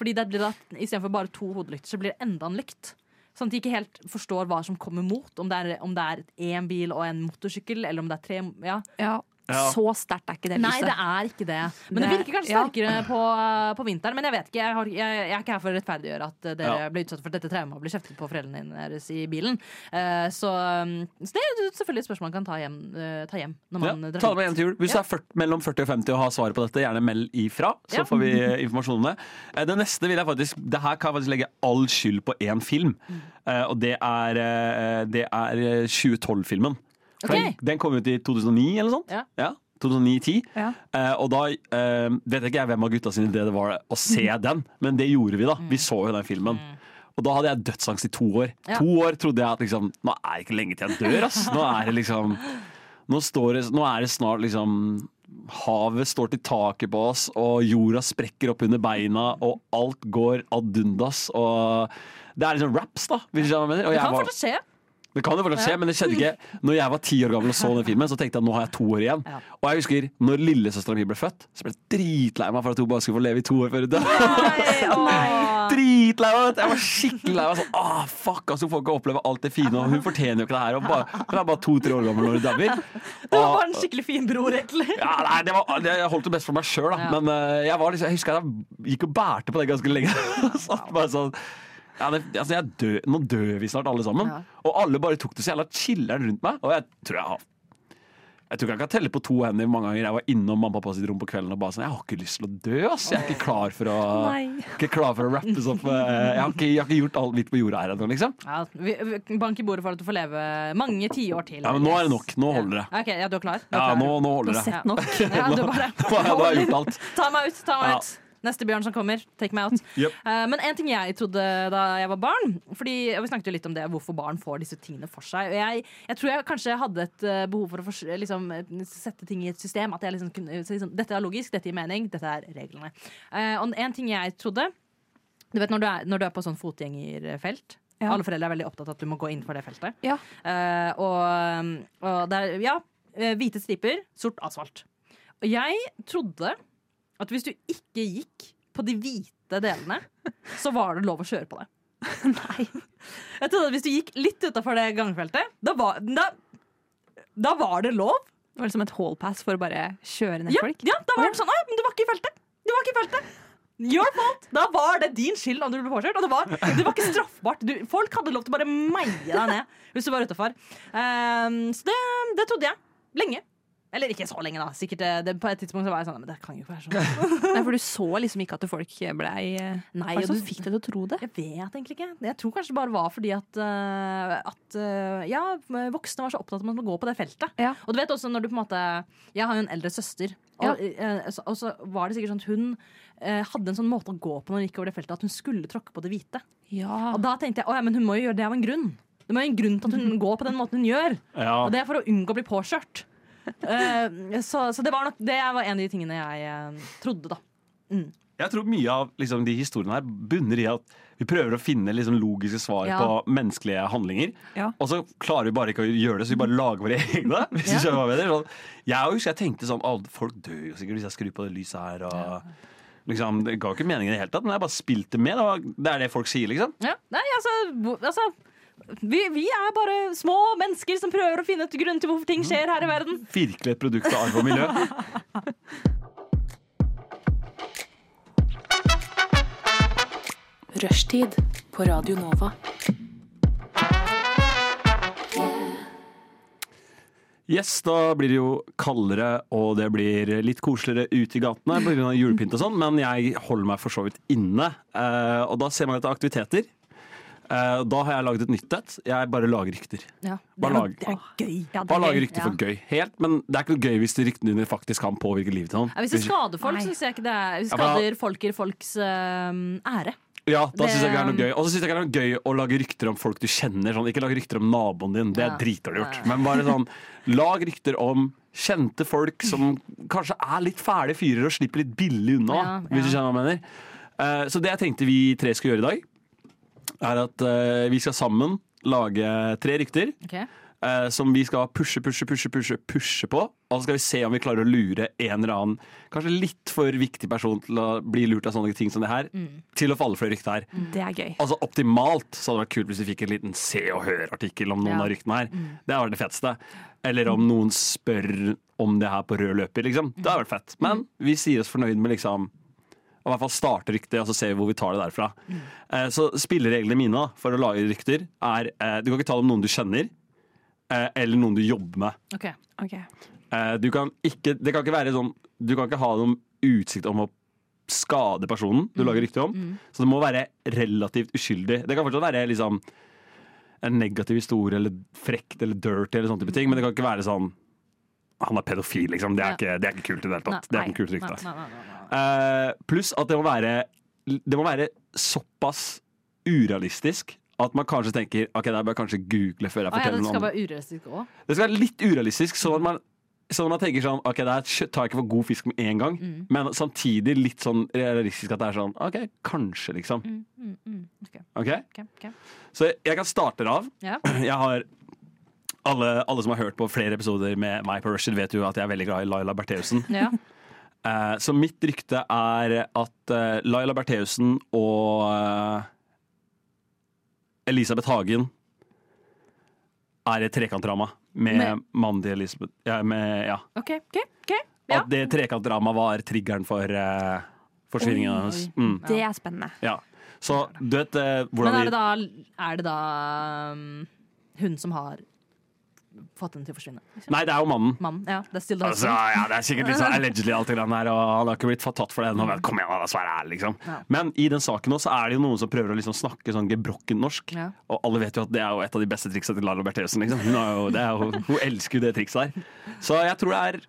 A: Fordi det blir da, istedenfor bare to hodelykter, så blir det enda en lykt. Sånn at de ikke helt forstår hva som kommer mot. Om det er, om det er én bil og en motorsykkel, eller om det er tre ja.
B: Ja.
C: Så sterkt er ikke det lyset.
A: Nei, det er ikke det. Men Eh, det,
C: Det-
A: virker kanskje
C: ja.
A: sterkere på, på vinteren. Men jeg vet ikke, jeg, har, jeg, jeg er ikke her for å rettferdiggjøre at eh, dere
B: Ja.
A: ble utsatt for dette traumet og ble kjeftet på foreldrene deres i bilen. Eh, så, um, så det er jo selvfølgelig et spørsmål man kan ta hjem, eh, ta hjem når
B: Ja,
A: man eh,
B: ta
A: drar
B: det med hjem til jul. Hvis
A: Ja.
B: det er 40, mellom 40 og 50 og har svaret på dette, gjerne meld ifra. Så
A: Ja.
B: får vi eh, informasjon om det. Eh, Det neste vil jeg faktisk Det her kan jeg faktisk legge all skyld på én film.
A: Mm.
B: Eh, Og det er, eh, det er eh, 2012-filmen. For
A: Ok.
B: Den, den kom ut i 2009 eller noe sånt.
A: Ja.
B: 2009-10.
C: Ja.
B: Eh, og da eh, vet jeg ikke jeg hvem av gutta sine idé det var å se den, men det gjorde vi, da. Vi så jo den filmen. Og da hadde jeg dødsangst i to år.
A: Mm. Ja.
B: To år trodde jeg at liksom, nå er det ikke lenge til jeg dør, ass. Nå er det liksom Nå, står det, nå er det snart liksom Havet står til taket på oss, og jorda sprekker opp under beina, og alt går ad undas. Og det er liksom raps, da. Hvis du skjønner hva jeg mener. Og
A: Det
B: jeg
A: kan
B: var-
A: fortsatt skje.
B: det kan jo fortsatt skje, men det skjedde ikke. Når jeg var ti år gammel og så den filmen, så tenkte jeg at nå har jeg to år igjen.
A: Ja.
B: Og jeg husker når lillesøstera mi ble født, så ble jeg dritlei meg for at hun bare skulle få leve i to år før hun døde. Dritlei meg! vet du. Jeg var skikkelig lei meg. Sånn, ah, fuck, altså, hun får ikke oppleve alt det fine, og hun fortjener jo ikke det her. Og bare, hun er bare to-tre år gammel når hun dauer.
A: Det var
B: Og-
A: bare en skikkelig fin bror, egentlig.
B: ja, nei, det var, det, jeg holdt det best for meg sjøl, da.
A: Ja.
B: Men eh, jeg, var liksom, jeg husker jeg gikk og bærte på det ganske lenge. Satt bare sånn ja, det, altså jeg dø, Nå dør vi snart, alle sammen.
A: Ja.
B: Og alle bare tok det så jævla chiller'n rundt meg. Og jeg tror jeg har jeg tror ikke jeg kan telle på to hender hvor mange ganger jeg var innom mamma og pappa sitt rom på kvelden og bare sånn Jeg har ikke lyst til å dø, ass. Jeg er ikke klar for å,
C: Nei.
B: ikke klar for å rappes opp. eh, Jeg har ikke, jeg har ikke gjort alt mitt på jorda her ennå, liksom.
A: Ja, vi, vi- bank i bordet for at du får leve mange tiår til.
B: Ja, men nå er det nok. Nå holder det.
A: Ja. Ok, ja, du er klar? Du er
B: Ja,
A: klar.
B: nå, nå holder det.
C: Sett nok.
A: Ja, du bare
B: Nå har jeg nå har jeg gjort alt.
A: Ta meg ut, ta meg
B: Ja.
A: ut. Neste bjørn som kommer, take meg out.
B: Jep.
A: Eh, men en ting jeg trodde da jeg var barn Fordi Vi snakket jo litt om det, hvorfor barn får disse tingene for seg. Og jeg, jeg tror jeg kanskje hadde et eh, behov for å fors- liksom, eh, sette ting i et system. At jeg liksom kunne så liksom, Dette er logisk, dette gir mening, dette er reglene. Eh, og en ting jeg trodde Du vet når du er, når du er på sånn fotgjengerfelt
C: Ja.
A: Alle foreldre er veldig opptatt av at du må gå innenfor det feltet.
C: Ja.
A: Eh, og, og det er, ja, eh, hvite striper, sort asfalt. Og jeg trodde at hvis du ikke gikk på de hvite delene, så var det lov å kjøre på det.
C: Nei.
A: Jeg trodde at hvis du gikk litt utafor det gangfeltet, da var, da, da var det lov.
C: Det var liksom et hallpass for å bare kjøre ned
A: Ja,
C: folk.
A: ja, da var det sånn «Nei, men du var ikke i feltet. Du var ikke i feltet. Your fault. Da var det din skyld om du ble påkjørt. Og det var, det var ikke straffbart. Du, folk hadde lov til å bare meie deg ned hvis du var utafor. så det, det trodde jeg. Lenge. Eller ikke så lenge, da. Sikkert eh, det, På et tidspunkt så var jeg sånn Men det kan jo ikke være sånn.
C: Nei, for du så liksom ikke at folk blei
A: Nei,
C: Hva er det
A: og
C: som
A: du-
C: fikk deg til å tro det?
A: Jeg vet egentlig ikke. Jeg tror kanskje det bare var fordi at, eh, at eh, Ja, voksne var så opptatt av at man må gå på det feltet.
C: Ja.
A: Og du vet også når du på en måte Jeg har jo en eldre søster. Og,
C: Ja.
A: eh, så- og så var det sikkert sånn at hun eh, hadde en sånn måte å gå på når hun gikk over det feltet, at hun skulle tråkke på det hvite.
C: Ja.
A: Og da tenkte jeg å ja, men hun må jo gjøre det av en grunn. Det må jo en grunn til at hun går på den måten hun gjør. Og det er for å unngå å bli påkjørt. Eh, så, så det var nok det var en av de tingene jeg eh, trodde, da.
B: Jeg tror mye av liksom, de historiene her bunner i at vi prøver å finne liksom, logiske svar
A: Ja.
B: på menneskelige handlinger.
C: Ja.
B: Og så klarer vi bare ikke å gjøre det, så vi bare lager våre egne. Hvis
A: Ja.
B: du skjønner hva jeg mener. Sånn, jeg husker jeg tenkte sånn «Å, Folk dør jo sikkert hvis jeg skrur på det lyset her. Og, liksom, det ga jo ikke mening i det hele tatt, men jeg bare spilte med. Det, var, det er det folk sier, liksom.
A: Ja. Nei, altså, hvor- altså vi, vi er bare små mennesker som prøver å finne ut grunn til hvorfor ting skjer her i verden.
B: Virkelig et produkt av arv og miljø.
F: Rushtid på Radio Nova.
B: Yes, da blir det jo kaldere, og det blir litt koseligere ute i gatene pga. julepynt og sånn, men jeg holder meg for så vidt inne. Eh, og da ser man etter aktiviteter. Eh, da har jeg laget et nytt et. Jeg bare lager rykter.
A: Ja, det,
B: Bare
A: er,
B: lag.
A: det er gøy.
C: Ja, det er
B: Bare lager
C: gøy.
B: rykter for gøy. Helt, men det er ikke noe gøy hvis de ryktene dine faktisk kan påvirke livet til noen.
A: Ja, hvis det skader folk,
C: Nei.
A: så syns jeg ikke det er Hvis det
B: Ja, men da-
A: skader folk i folks øhm, ære.
B: Ja, da
A: Det-
B: synes jeg ikke det er noe gøy. Og så syns jeg ikke det er noe gøy å lage rykter om folk du kjenner. Sånn, ikke lag rykter om naboen din, det er
A: Ja.
B: dritdårlig gjort.
A: Ja.
B: Men bare sånn, lag rykter om kjente folk som kanskje er litt fæle fyrer og slipper litt billig unna,
A: Ja, ja.
B: hvis du skjønner hva jeg mener. Eh, så det jeg tenkte vi tre skal gjøre i dag, er at eh, vi skal sammen lage tre rykter. eh, som vi skal pushe, pushe, pushe, pushe, pushe på. Og så skal vi se om vi klarer å lure en eller annen kanskje litt for viktig person til å bli lurt av sånne ting som det her,
A: Mm.
B: til å falle for det ryktet her.
C: Det er gøy.
B: Altså Optimalt så hadde det vært kult hvis vi fikk en liten Se og Hør-artikkel om noen
A: Ja.
B: av ryktene her. Det hadde vært det feteste. Eller om noen spør om det her på rød løper. Liksom. Det hadde vært fett. Men vi sier oss fornøyd med liksom å i hvert fall starte ryktet, og så ser vi hvor vi tar det derfra. Eh, Så spillereglene mine da, for å lage rykter er eh, Du kan ikke ta det om noen du kjenner, eh, eller noen du jobber med.
A: Ok.
C: Ok.
B: Eh, Du kan ikke, det kan ikke være sånn Du kan ikke ha noen utsikt om å skade personen du
A: Mm.
B: lager rykte om. Så det må være relativt uskyldig. Det kan fortsatt være liksom en negativ historie eller frekt eller dirty, eller sånne type ting, men det kan ikke være sånn Han er pedofil, liksom. Det er,
A: Ja.
B: ikke, det er ikke kult i det hele tatt. det er
A: Nei,
B: ikke kult
A: nei,
B: rykte.
A: nei, nei, nei, nei.
B: Eh, pluss at det må være Det må være såpass urealistisk at man kanskje tenker Ok, det er bare kanskje google før
A: Å,
B: jeg
A: ja,
B: forteller
A: den
B: noe
A: skal
B: om det.
A: være urealistisk òg.
B: Det skal være litt urealistisk, sånn at man, sånn at man tenker sånn Ok, det her kjø- tar jeg ikke for god fisk med en gang,
A: Mm.
B: men samtidig litt sånn realistisk at det er sånn Ok, kanskje, liksom.
A: Mm, mm, mm. Ok,
B: Ok?
A: ok, ok.
B: Så jeg kan starte det av.
A: Ja.
B: Jeg har alle, alle som har hørt på flere episoder med meg på Rusher, vet jo at jeg er veldig glad i Laila Bertheussen.
A: Ja.
B: Eh, så mitt rykte er at eh, Laila Bertheussen og eh, Elisabeth Hagen er et trekantrama med,
A: Med-
B: mannen til Elisabeth ja, med, ja.
A: OK. ok, ok. Ja.
B: At det trekantdramaet var triggeren for eh, forsvinningen hennes.
A: Oi.
B: Mm,
C: Det er spennende.
B: ja. Så du vet eh,
A: Men
B: hvordan
A: er det
B: vi
A: da, er det da um, hun som har fått henne til å forsvinne?
B: Nei, det er jo mannen.
A: Mannen? Ja, det er still the
B: Altså,
A: husband.
B: ja, det er sikkert litt sånn allegedly alt det grann her, og han har ikke blitt tatt for det ennå. men Kom igjen, da, svær ærlig, liksom.
A: Ja.
B: Men i den saken også er det jo noen som prøver å liksom snakke sånn gebrokkent norsk.
A: Ja.
B: Og alle vet jo at det er jo et av de beste triksa til Lara Bertheussen. Liksom. Hun, har jo- det er jo- hun elsker jo det trikset der. Så jeg tror det er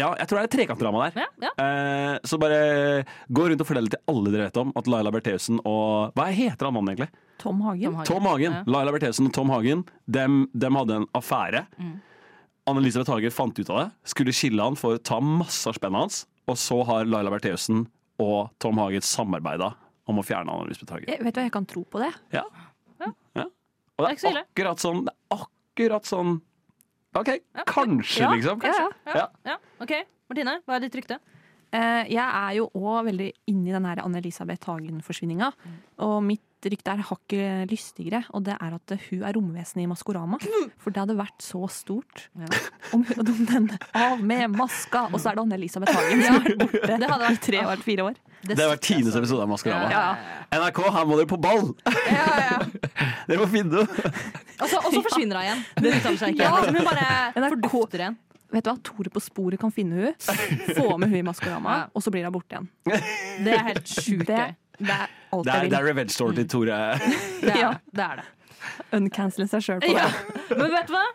B: ja, jeg tror det er et trekantdrama der.
A: Ja, ja.
B: Eh, så bare gå rundt og fortell det til alle dere vet om at Laila Bertheussen og Hva heter han mannen, egentlig?
C: Tom Hagen.
A: Tom Hagen.
B: Tom Hagen,
A: Ja.
B: Laila Bertheussen og Tom Hagen dem, dem hadde en affære.
A: Mm.
B: Anne-Elisabeth Hagen fant ut av det, skulle skille han for å ta masse av spennet hans. Og så har Laila Bertheussen og Tom Hagen samarbeida om å fjerne Anne-Elisabeth Hagen.
C: Eh, Jeg vet du hva, jeg kan tro på det.
B: Ja. Og
A: Det er ikke så ille.
B: akkurat sånn det er akkurat sånn OK, kanskje,
A: Ja,
B: liksom.
A: kanskje. Ja,
B: Ja.
A: ja. OK. Martine, hva er ditt rykte?
C: Eh, jeg er jo òg veldig inni den her Anne-Elisabeth Hagen-forsvinninga.
A: Mm.
C: Og mitt rykte er hakket lystigere, og det er at hun er romvesenet i Maskorama. For det hadde vært så stort
A: Ja.
C: om, hun- om den av med maska, og så er det Anne-Elisabeth Hagen som er borte
A: Det hadde
C: i
A: vært
C: tre år, fire år.
B: Det har vært Tines episode av Maskorama.
A: Ja.
B: NRK, her må dere på ball! dere må finne noe.
A: Og så og så forsvinner hun igjen. Det uttaler seg ikke.
C: Ja.
A: Hun bare
C: NRK.
A: fordufter igjen.
C: Vet du hva, Tore på sporet kan finne hun, få med hun i Maskorama,
A: Ja.
C: og så blir hun borte igjen.
A: Det er helt sjukt
C: Det,
A: gøy.
C: det er alt
B: Det er, det
C: jeg vil.
B: er revenge story til Tore.
A: Det
C: Ja.
A: er det. Er det.
C: Uncancele seg sjøl på
A: Ja.
C: det.
A: Men vet du hva?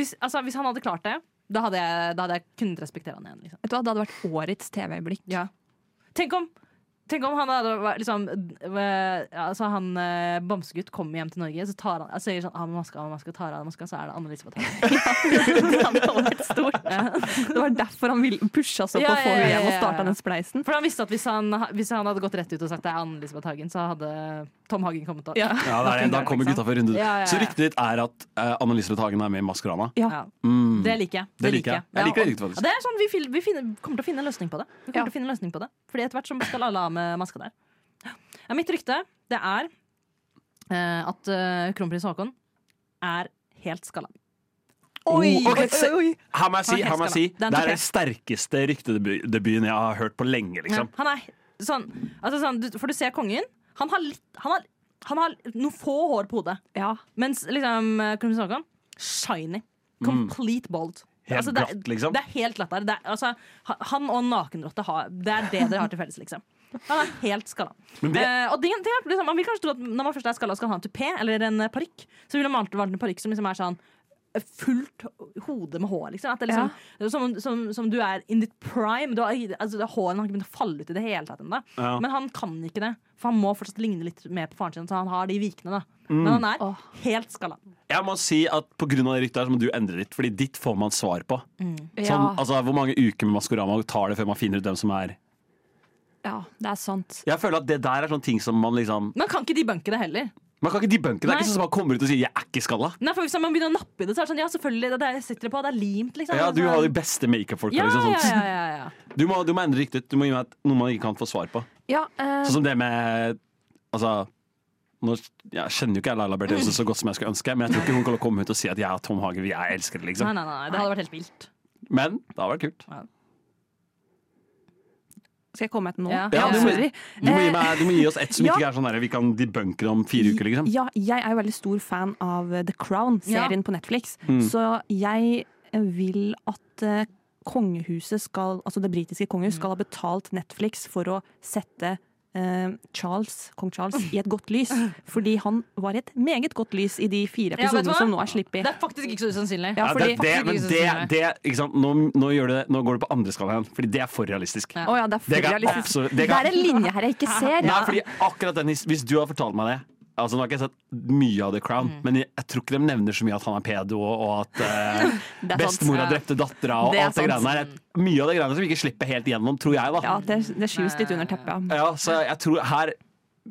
A: Hvis, altså, hvis han hadde klart det, da hadde jeg, da hadde jeg kunnet respektere han igjen. Liksom.
C: Vet du hva, Det hadde vært årets TV-øyeblikk.
A: Tenk om Tenk om han hadde vært liksom øh, altså Han øh, bamsegutt kommer hjem til Norge, så tar han, sier sånn ah, men maska, ah, maska, tar av maska, så er det Anne-Elisabeth Hagen.
C: Det hadde vært stort. Det var derfor han vil- pusha så på
A: Ja, ja,
C: å få
A: ja,
C: henne hjem og
A: ja, ja.
C: starta den spleisen.
A: For han visste at hvis han, hvis han hadde gått rett ut og sagt det er Anne-Elisabeth Hagen, så hadde Tom Hagen kommet opp.
C: Ja.
B: Ja, det er det. Da kommer gutta for runde.
A: Ja, ja, ja.
B: Så ryktet ditt er at uh, Anne-Elisabeth Hagen er med i Maskorama.
A: Ja.
B: Mm.
A: Det liker jeg.
B: Det liker jeg. Jeg liker det riktig, faktisk.
A: og det er sånn, vi, fil- vi finner, kommer til å finne en løsning på det. Vi kommer
C: Ja.
A: til å finne en løsning på det Fordi etter hvert så skal alle ha med maska der. Ja, mitt rykte det er eh, at eh, kronprins Haakon er helt skalla.
B: Oh, ok, se- Her må jeg si,
A: Ok,
B: her må jeg si.
A: skal da. Den tok
B: det er
A: jeg.
B: den sterkeste ryktedebuten jeg har hørt på lenge. liksom.
A: Ja, han er sånn, altså sånn du, For du ser kongen. Han har, litt, han, har, han har noen få hår på hodet.
C: Ja.
A: Mens liksom, eh, kronprins Haakon shiny. Complete bald.
B: Mm. Helt
A: det, er-
B: glatt, liksom.
A: det er helt glatt der. Det er, altså, ha- han og nakenrotte har Det er det dere har til felles, liksom. Han er helt skalla.
B: Men det-
A: Eh, og det, det er, liksom, man vil kanskje tro at når man først er skalla og skal ha en tupé eller en eh, parykk, så ville man alltid valgt en parykk som liksom er sånn eh, Fullt hode med hår, liksom. At det liksom som, som, som du er in ditt prime. Du har, altså, det- hårene har ikke begynt å falle ut i det hele tatt ennå.
B: Ja.
A: Men han kan ikke det, for han må fortsatt ligne litt mer på faren sin. Så han har de vikene, da.
B: Mm.
A: Men han er
C: Åh.
A: helt skalla.
B: Jeg må si at På grunn av det ryktet her så må du endre litt, Fordi ditt får man svar på. Sånn,
C: Ja.
B: altså, Hvor mange uker med Maskorama tar det før man finner ut hvem som er altså-
C: ja, det er sant.
B: Jeg føler at Det der er sånne ting som man liksom
A: Man kan ikke debunke det heller.
B: Man kan ikke debunke. Det er
A: Nei.
B: ikke sånn som man kommer ut og sier 'jeg er ikke skalla'.
A: Nei, for Hvis man begynner å nappe i det, så er det sånn Ja, selvfølgelig, det er det jeg sitter på, det er limt, liksom.
B: Ja, Du har de
A: det
B: beste makeup-folka.
A: ja,
B: Liksom,
A: ja,
B: sånn.
A: ja, ja, ja.
B: du, må- du må endre ryktet. Du må gi meg et- noe man ikke kan få svar på.
C: Ja, eh,
B: Sånn som det med Altså nå, jeg kjenner jo ikke jeg Laila Bertheussen så godt som jeg skulle ønske, men jeg tror ikke hun kan komme ut og si at jeg og Tom Hagen vi er elskere.
A: Nei, nei,
B: liksom.
A: nei, det hadde vært helt vilt.
B: Men det har vært kult.
C: skal jeg komme med et nå?
A: Ja.
B: Ja, du, må,
C: Sorry. Eh,
B: du, må gi meg, du må gi oss ett som
C: Ja.
B: ikke er sånn der, vi kan debunke det om fire uker. liksom.
C: Ja, jeg er jo veldig stor fan av The Crown-serien på Netflix.
B: Mm.
C: Så jeg eh, vil at eh, kongehuset skal, altså det britiske kongehuset skal ha betalt Netflix for å sette eh, Charles, kong Charles i et godt lys. Fordi han var i et meget godt lys i de fire
A: Ja, vet du
C: episodene
A: hva?
C: som nå er
A: Det
C: sluppet.
A: er faktisk ikke så usannsynlig.
C: Ja,
B: Ja,
C: fordi-
B: det, det, men
A: Faktisk
B: det,
A: ikke
B: det, ikke sant? Nå, nå, gjør det, nå går det på andre skala igjen, fordi det er for realistisk.
A: Ja.
C: Å ja, det er
B: Det
C: for
B: kan
C: realistisk.
B: absolutt-
C: Det
B: det kan-
C: er en linje her jeg ikke ser.
B: Nei, fordi akkurat den, his- Hvis du har fortalt meg det Altså, Nå har ikke jeg sett mye av The Crown,
C: Mm.
B: men jeg, jeg tror ikke de nevner så mye at han er pedo, og og at eh,
C: Det er sant.
B: bestemora drepte dattera og
C: Det er
B: alt det
C: sant.
B: greiene der. Jeg- Mye av det greiene som vi ikke slipper helt igjennom, tror jeg, da.
C: Ja, det, det skyves litt under teppet.
B: Ja, så jeg tror her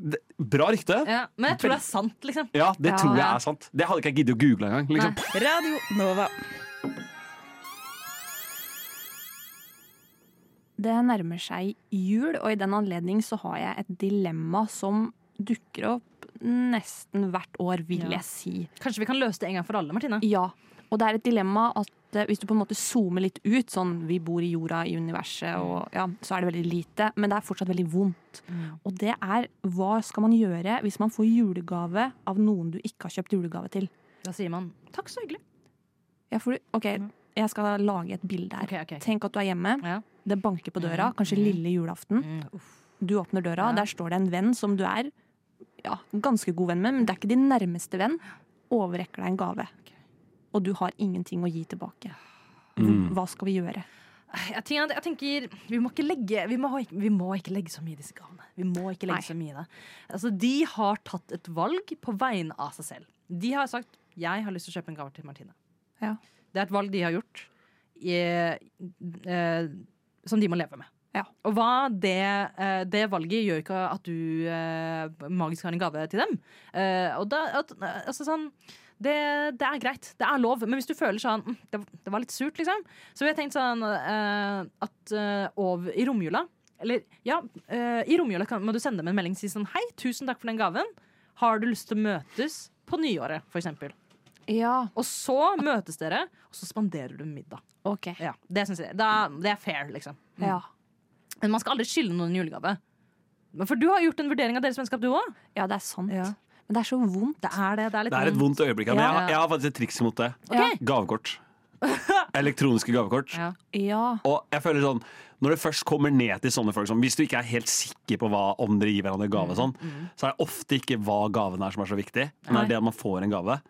B: det, Bra rykte.
A: Ja, men jeg tror det er sant, liksom.
B: Ja, det
C: Ja.
B: tror jeg er sant. Det hadde ikke jeg giddet å google engang. Liksom.
A: Nei.
G: Radio Nova.
C: Det nærmer seg jul, og i den anledning så har jeg et dilemma som dukker opp nesten hvert år, vil
A: Ja.
C: jeg si.
A: Kanskje vi kan løse det en gang for alle, Martine.
C: Ja, og det er et dilemma at eh, hvis du på en måte zoomer litt ut, sånn vi bor i jorda, i universet, og, ja, så er det veldig lite, men det er fortsatt veldig vondt. Og det er hva skal man gjøre hvis man får julegave av noen du ikke har kjøpt julegave til?
A: Da sier man takk, så hyggelig.
C: Ja, for du, ok, jeg skal lage et bilde her.
A: Ok, ok.
C: Tenk at du er hjemme,
A: Ja.
C: det banker på døra, kanskje lille julaften.
A: Mm, uff.
C: Du åpner
A: Ja.
C: døra, der står det en venn som du er ja, ganske god venn med, men det er ikke din nærmeste venn. Overrekker deg en gave. Og du har ingenting å gi tilbake. Hva skal vi gjøre?
A: Jeg tenker, jeg tenker vi, må ikke legge, vi, må, ikke- vi må ikke legge så mye i disse gavene. Vi må ikke legge
C: Nei.
A: så mye i det. Altså, de har tatt et valg på vegne av seg selv. De har sagt jeg har lyst til å kjøpe en gave til Martine.
C: Ja.
A: Det er et valg de har gjort i, eh, som de må leve med.
C: Ja.
A: Og hva det, eh, det valget gjør ikke at du eh, magisk har en gave til dem. Eh, og da, at, altså sånn det, det er greit. Det er lov. Men hvis du føler sånn mm, Det, det var litt surt, liksom. Så jeg tenkte sånn eh, at eh, over, i romjula Eller ja, eh, i romjula kan, må du sende dem en melding og si sånn Hei, tusen takk for den gaven. Har du lyst til å møtes på nyåret, for eksempel?
G: Ja,
A: Og så møtes dere, og så spanderer du middag.
G: ok.
A: Ja, det, synes jeg, da, det er fair, liksom.
G: Ja.
A: Men man skal aldri skylde noen en julegave. Men For du har gjort en vurdering av deres vennskap, du òg.
G: ja, det er sant. Men det er så vondt.
A: Det er det. Det er litt
B: Det er et vondt øyeblikk. her, Men
A: Ja.
B: jeg, har- jeg har faktisk et triks mot det.
A: Ok.
B: Gavekort. Elektroniske gavekort.
A: Ja.
G: Ja.
B: Og jeg føler sånn Når det først kommer ned til sånne folk sånn, Hvis du ikke er helt sikker på hva, om dere gir hverandre gave og sånn, Så er det ofte ikke hva gaven er som er så viktig Men det
A: Nei.
B: er det at man får en gave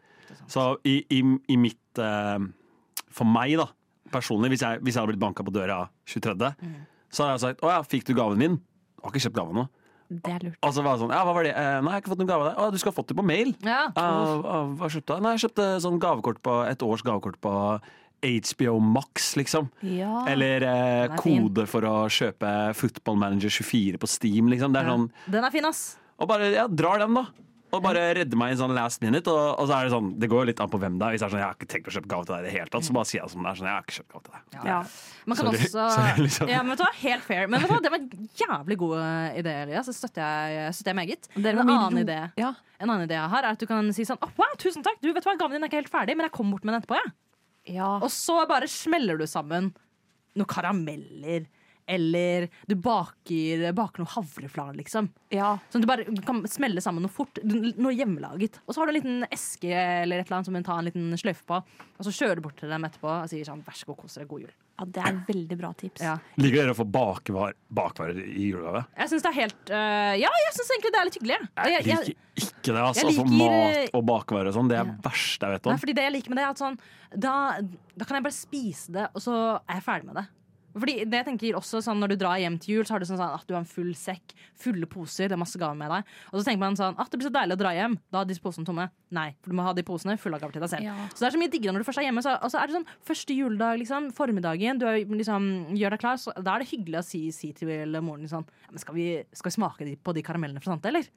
B: Så i, i, i mitt eh, For meg da Personlig, hvis jeg, hvis jeg hadde blitt banket på døra 23 Så hadde jeg sagt, åja, fikk du gaven min? Jeg har ikke kjøpt gaven nå
G: Det er lurt.
B: Og så var det sånn, ja, hva var det? Eh, nei, jeg har ikke fått noen gave av deg Å, du skal ha fått det på mail
A: Ja.
B: Ah, ah, hva kjøpte jeg? Nei, jeg kjøpte sånn gavekort på, et års gavekort på HBO Max, liksom.
G: Ja.
B: Eller eh,
A: Ah, Den er fin.
B: kode for å kjøpe Football Manager 24 på Steam, liksom. Det er sånn,
A: Den er fin, ass.
B: og bare, ja, drar den, da. Og bare redder meg i en sånn last minute. Og, og så er det sånn, det går jo litt an på hvem det er. Hvis det er sånn, jeg har ikke tenkt å kjøpe gave til deg i det hele tatt, så bare sier jeg som det er. sånn, jeg har ikke kjøpt gave til deg.
A: Ja. Man kan
B: Sorry.
A: også
B: Sorry, liksom.
A: ja, men vet du hva? Helt fair. Men vet du hva? det var en jævlig god eh, idé, Elias. Det støtter jeg, støtter jeg meget.
G: Dere
A: En
G: var mye
A: annen,
G: ro-
A: idé,
G: Ja.
A: en annen idé jeg har, er at du kan si sånn Å, wow, tusen takk, du vet du hva, gaven din er ikke helt ferdig, men jeg kom bort med den etterpå, jeg.
G: ja.
A: Og så bare smeller du sammen noen karameller, eller du baker, baker noen havreflar, liksom.
G: ja.
A: Sånn at du bare kan smelle sammen noe fort, noe hjemmelaget. Og så har du en liten eske eller et eller annet som du tar en liten sløyfe på, og så kjører du bort til dem etterpå og sier sånn vær så god, kos dere, god jul.
G: Ja, det er veldig bra tips.
A: Ja.
B: Liker dere å få bakvar, bakvarer i julegave?
A: Jeg syns det er helt øh, Ja, jeg syns egentlig det er litt hyggelig. jeg. Og
B: Jeg
A: Jeg, jeg,
B: liker ikke det, altså.
A: jeg
B: altså,
A: liker- eh,
B: mat og bakvarer og sånn. Det er det verste jeg vet
A: nei,
B: om.
A: fordi det jeg liker med det, er at sånn da, da kan jeg bare spise det, og så er jeg ferdig med det. Fordi det jeg tenker også sånn Når du drar hjem til jul, så har du sånn, sånn at du har en full sekk, fulle poser, det er masse gaver med deg. Og så tenker man sånn at det blir så deilig å dra hjem. Da er disse posene tomme. Nei, for du må ha de posene fulle av gaver til deg selv.
G: Ja.
A: Så det er så mye diggere når du først er hjemme. Så, og så er det sånn første juledag, liksom, formiddagen, du er, liksom, gjør deg klar, så da er det hyggelig å si, si til moren din sånn ja, men skal, vi, skal vi smake de- på de karamellene fra Tante, eller?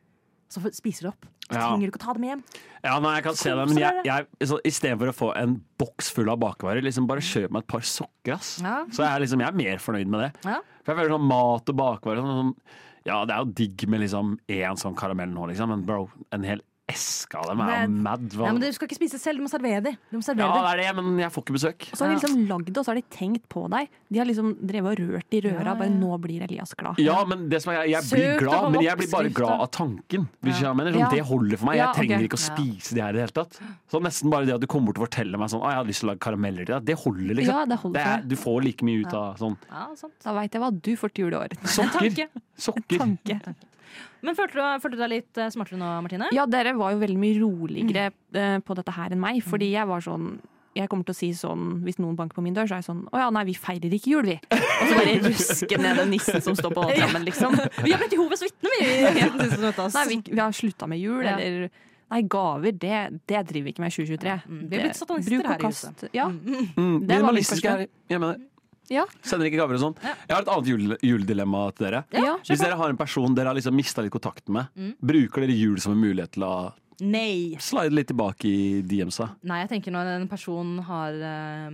A: Så f- spiser du opp. Så
B: Ja.
A: trenger du ikke å ta dem med hjem.
B: Ja, nei, jeg kan se det, men jeg, jeg, så, i stedet for å få en boks full av bakvarer, liksom bare kjøp meg et par sokker, ass.
A: Ja.
B: Så jeg er, liksom, jeg er mer fornøyd med det.
A: Ja.
B: For jeg føler sånn mat og bakvarer sånn, sånn, Ja, det er jo digg med liksom én sånn karamell nå, liksom, men bro, en hel eske av dem er jo
A: Men-
B: mad. Hva?
A: Ja, men du skal ikke spise selv, du må servere de. Du må servere
B: Ja, det
A: de.
B: er det, men jeg får ikke besøk.
G: Og så har de liksom lagd det, og så har de tenkt på deg. De har liksom drevet og rørt i røra. Bare 'nå blir Elias glad'.
B: Ja, men det som er, jeg
A: Søk
B: blir
A: deg på
B: glad, men jeg blir bare
A: oppskrifter.
B: glad av tanken. Hvis jeg mener, sånn,
G: Ja.
B: Det holder for meg.
G: Ja,
B: Jeg trenger
G: ok.
B: ikke å spise det her i det hele tatt. Så nesten bare det at du kommer bort og forteller meg sånn, «Å, jeg hadde lyst til å lage karameller til deg, det holder, liksom.
G: Ja, det holder
B: det
G: for
B: er, du får like mye ut av sånn.
A: Ja, sant.
G: Da veit jeg hva du får til jul i år.
B: Sokker. Sokker.
A: Men følte du, følte du deg litt eh, smartere nå, Martine?
G: Ja, dere var jo veldig mye roligere eh, på dette her enn meg. Fordi jeg var sånn jeg kommer til å si sånn, Hvis noen banker på min dør, så er jeg sånn Å ja, nei, vi feirer ikke jul, vi. Og så bare ruske ned den nissen som står på trammen, liksom.
A: Vi har blitt Jehovas vitner, vi! siden sist møte, ass.
G: Nei, vi, vi har slutta med jul,
A: Ja.
G: eller Nei, gaver, det, det driver Mm. vi ikke med i 2023.
A: Vi har blitt satanister
G: Bruk og
A: her i
G: kast.
A: huset.
G: Ja.
B: Mm,
G: Det var mitt
B: minimalistisk er jeg mener.
G: Ja.
B: Sender ikke gaver og sånn.
A: Ja.
B: Jeg har et annet jule, juledilemma til dere.
G: Ja.
B: Hvis dere har en person dere har liksom mista litt kontakten med,
G: Mm.
B: bruker dere jul som en mulighet til å
A: Nei.
B: slide litt tilbake i DM-sa?
A: Nei, jeg tenker når en person har eh,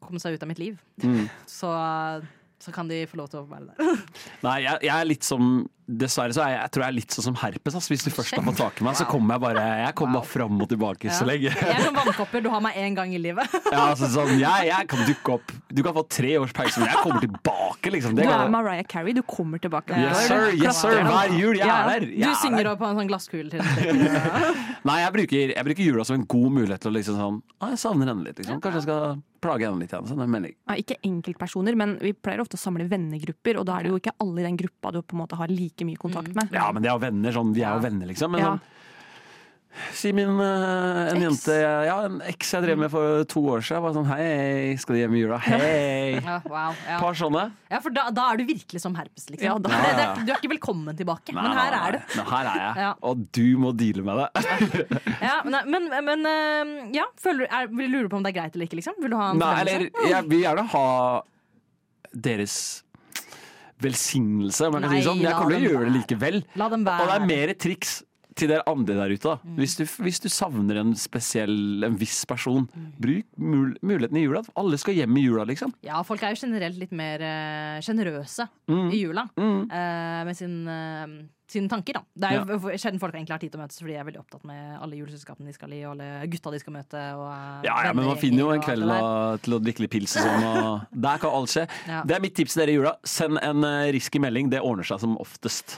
A: kommet seg ut av mitt liv,
B: Mm.
A: så, så kan de få lov til å være der.
B: Nei, jeg, jeg er litt som Dessverre så er jeg, jeg tror jeg er litt sånn som herpes. Ass. Hvis du først har fått tak i meg, så kommer jeg bare Jeg kommer bare fram og tilbake så lenge.
A: Jeg er som vannkopper, du har meg én gang i livet.
B: Ja, altså, sånn, jeg, jeg kan dukke opp. Du kan få tre års pause, men jeg kommer tilbake, liksom.
G: Du
B: Det
G: er
B: kan,
G: Mariah Carey, du kommer tilbake.
B: yes sir, yes sir, hver jul. Jeg er
A: Du
B: der. Jeg er der.
A: synger opp på en sånn glasskule til deg.
B: Nei, jeg bruker, jeg bruker jula som en god mulighet til å liksom sånn «Ah, Jeg savner henne litt, liksom. Kanskje jeg skal plage henne litt igjen. Sånn, en melding.
G: Ja, ikke enkeltpersoner, men vi pleier ofte å samle vennegrupper, og da er det jo ikke alle i den gruppa du på en måte har like mye
A: Mm.
G: kontakt med.
B: Ja, men de er jo venner, sånn. Vi er jo venner, liksom. Men
G: Ja.
B: sånn Si min eh, en
G: Eks.
B: jente Ja, en eks jeg drev med for to år siden. Bare sånn Hei, skal du hjem i jula? Hei!
A: Ja, wow, ja.
B: Et par sånne.
A: ja, for da, da er du virkelig som herpes, liksom.
G: Ja, da-
A: det, det, er- du er ikke velkommen tilbake, men her er du.
B: Men her er jeg.
A: Ja.
B: Og du må deale med det.
A: Ja, nei, men, men eh, ja, føler, du- er, vil du lure på om det er greit eller ikke, liksom? Vil du ha en
B: Nei,
A: fornemmelse?
B: eller jeg vil gjerne ha deres velsignelse, om jeg kan si det
A: Nei,
B: sånn. men Jeg
A: la
B: kommer til
A: dem
B: å gjøre det
A: være.
B: likevel.
A: La dem
B: Og det
A: være.
B: er mer et triks til dere andre der ute.
A: Mm.
B: Da. Hvis, du, hvis du savner en spesiell, en viss person,
A: Mm.
B: bruk mul muligheten i jula. Alle skal hjem i jula, liksom.
A: Ja, folk er jo generelt litt mer eh, sjenerøse
B: Mm.
A: i jula eh, med sin, eh, sine tanker, da. Det er jo v- sjelden folk egentlig har tid til å møtes, for de er veldig opptatt med alle juleselskapene de skal i, og alle gutta de skal møte. Og, eh,
B: Ja, ja, men man
A: vennegjenger
B: finner jo
A: og
B: en
A: alt
B: kveld
A: det der.
B: da, til å drikke litt pils og sånn. Og der kan alt skje.
A: Ja.
B: Det er mitt tips til dere i jula. Send en eh, risky melding. Det ordner seg som oftest.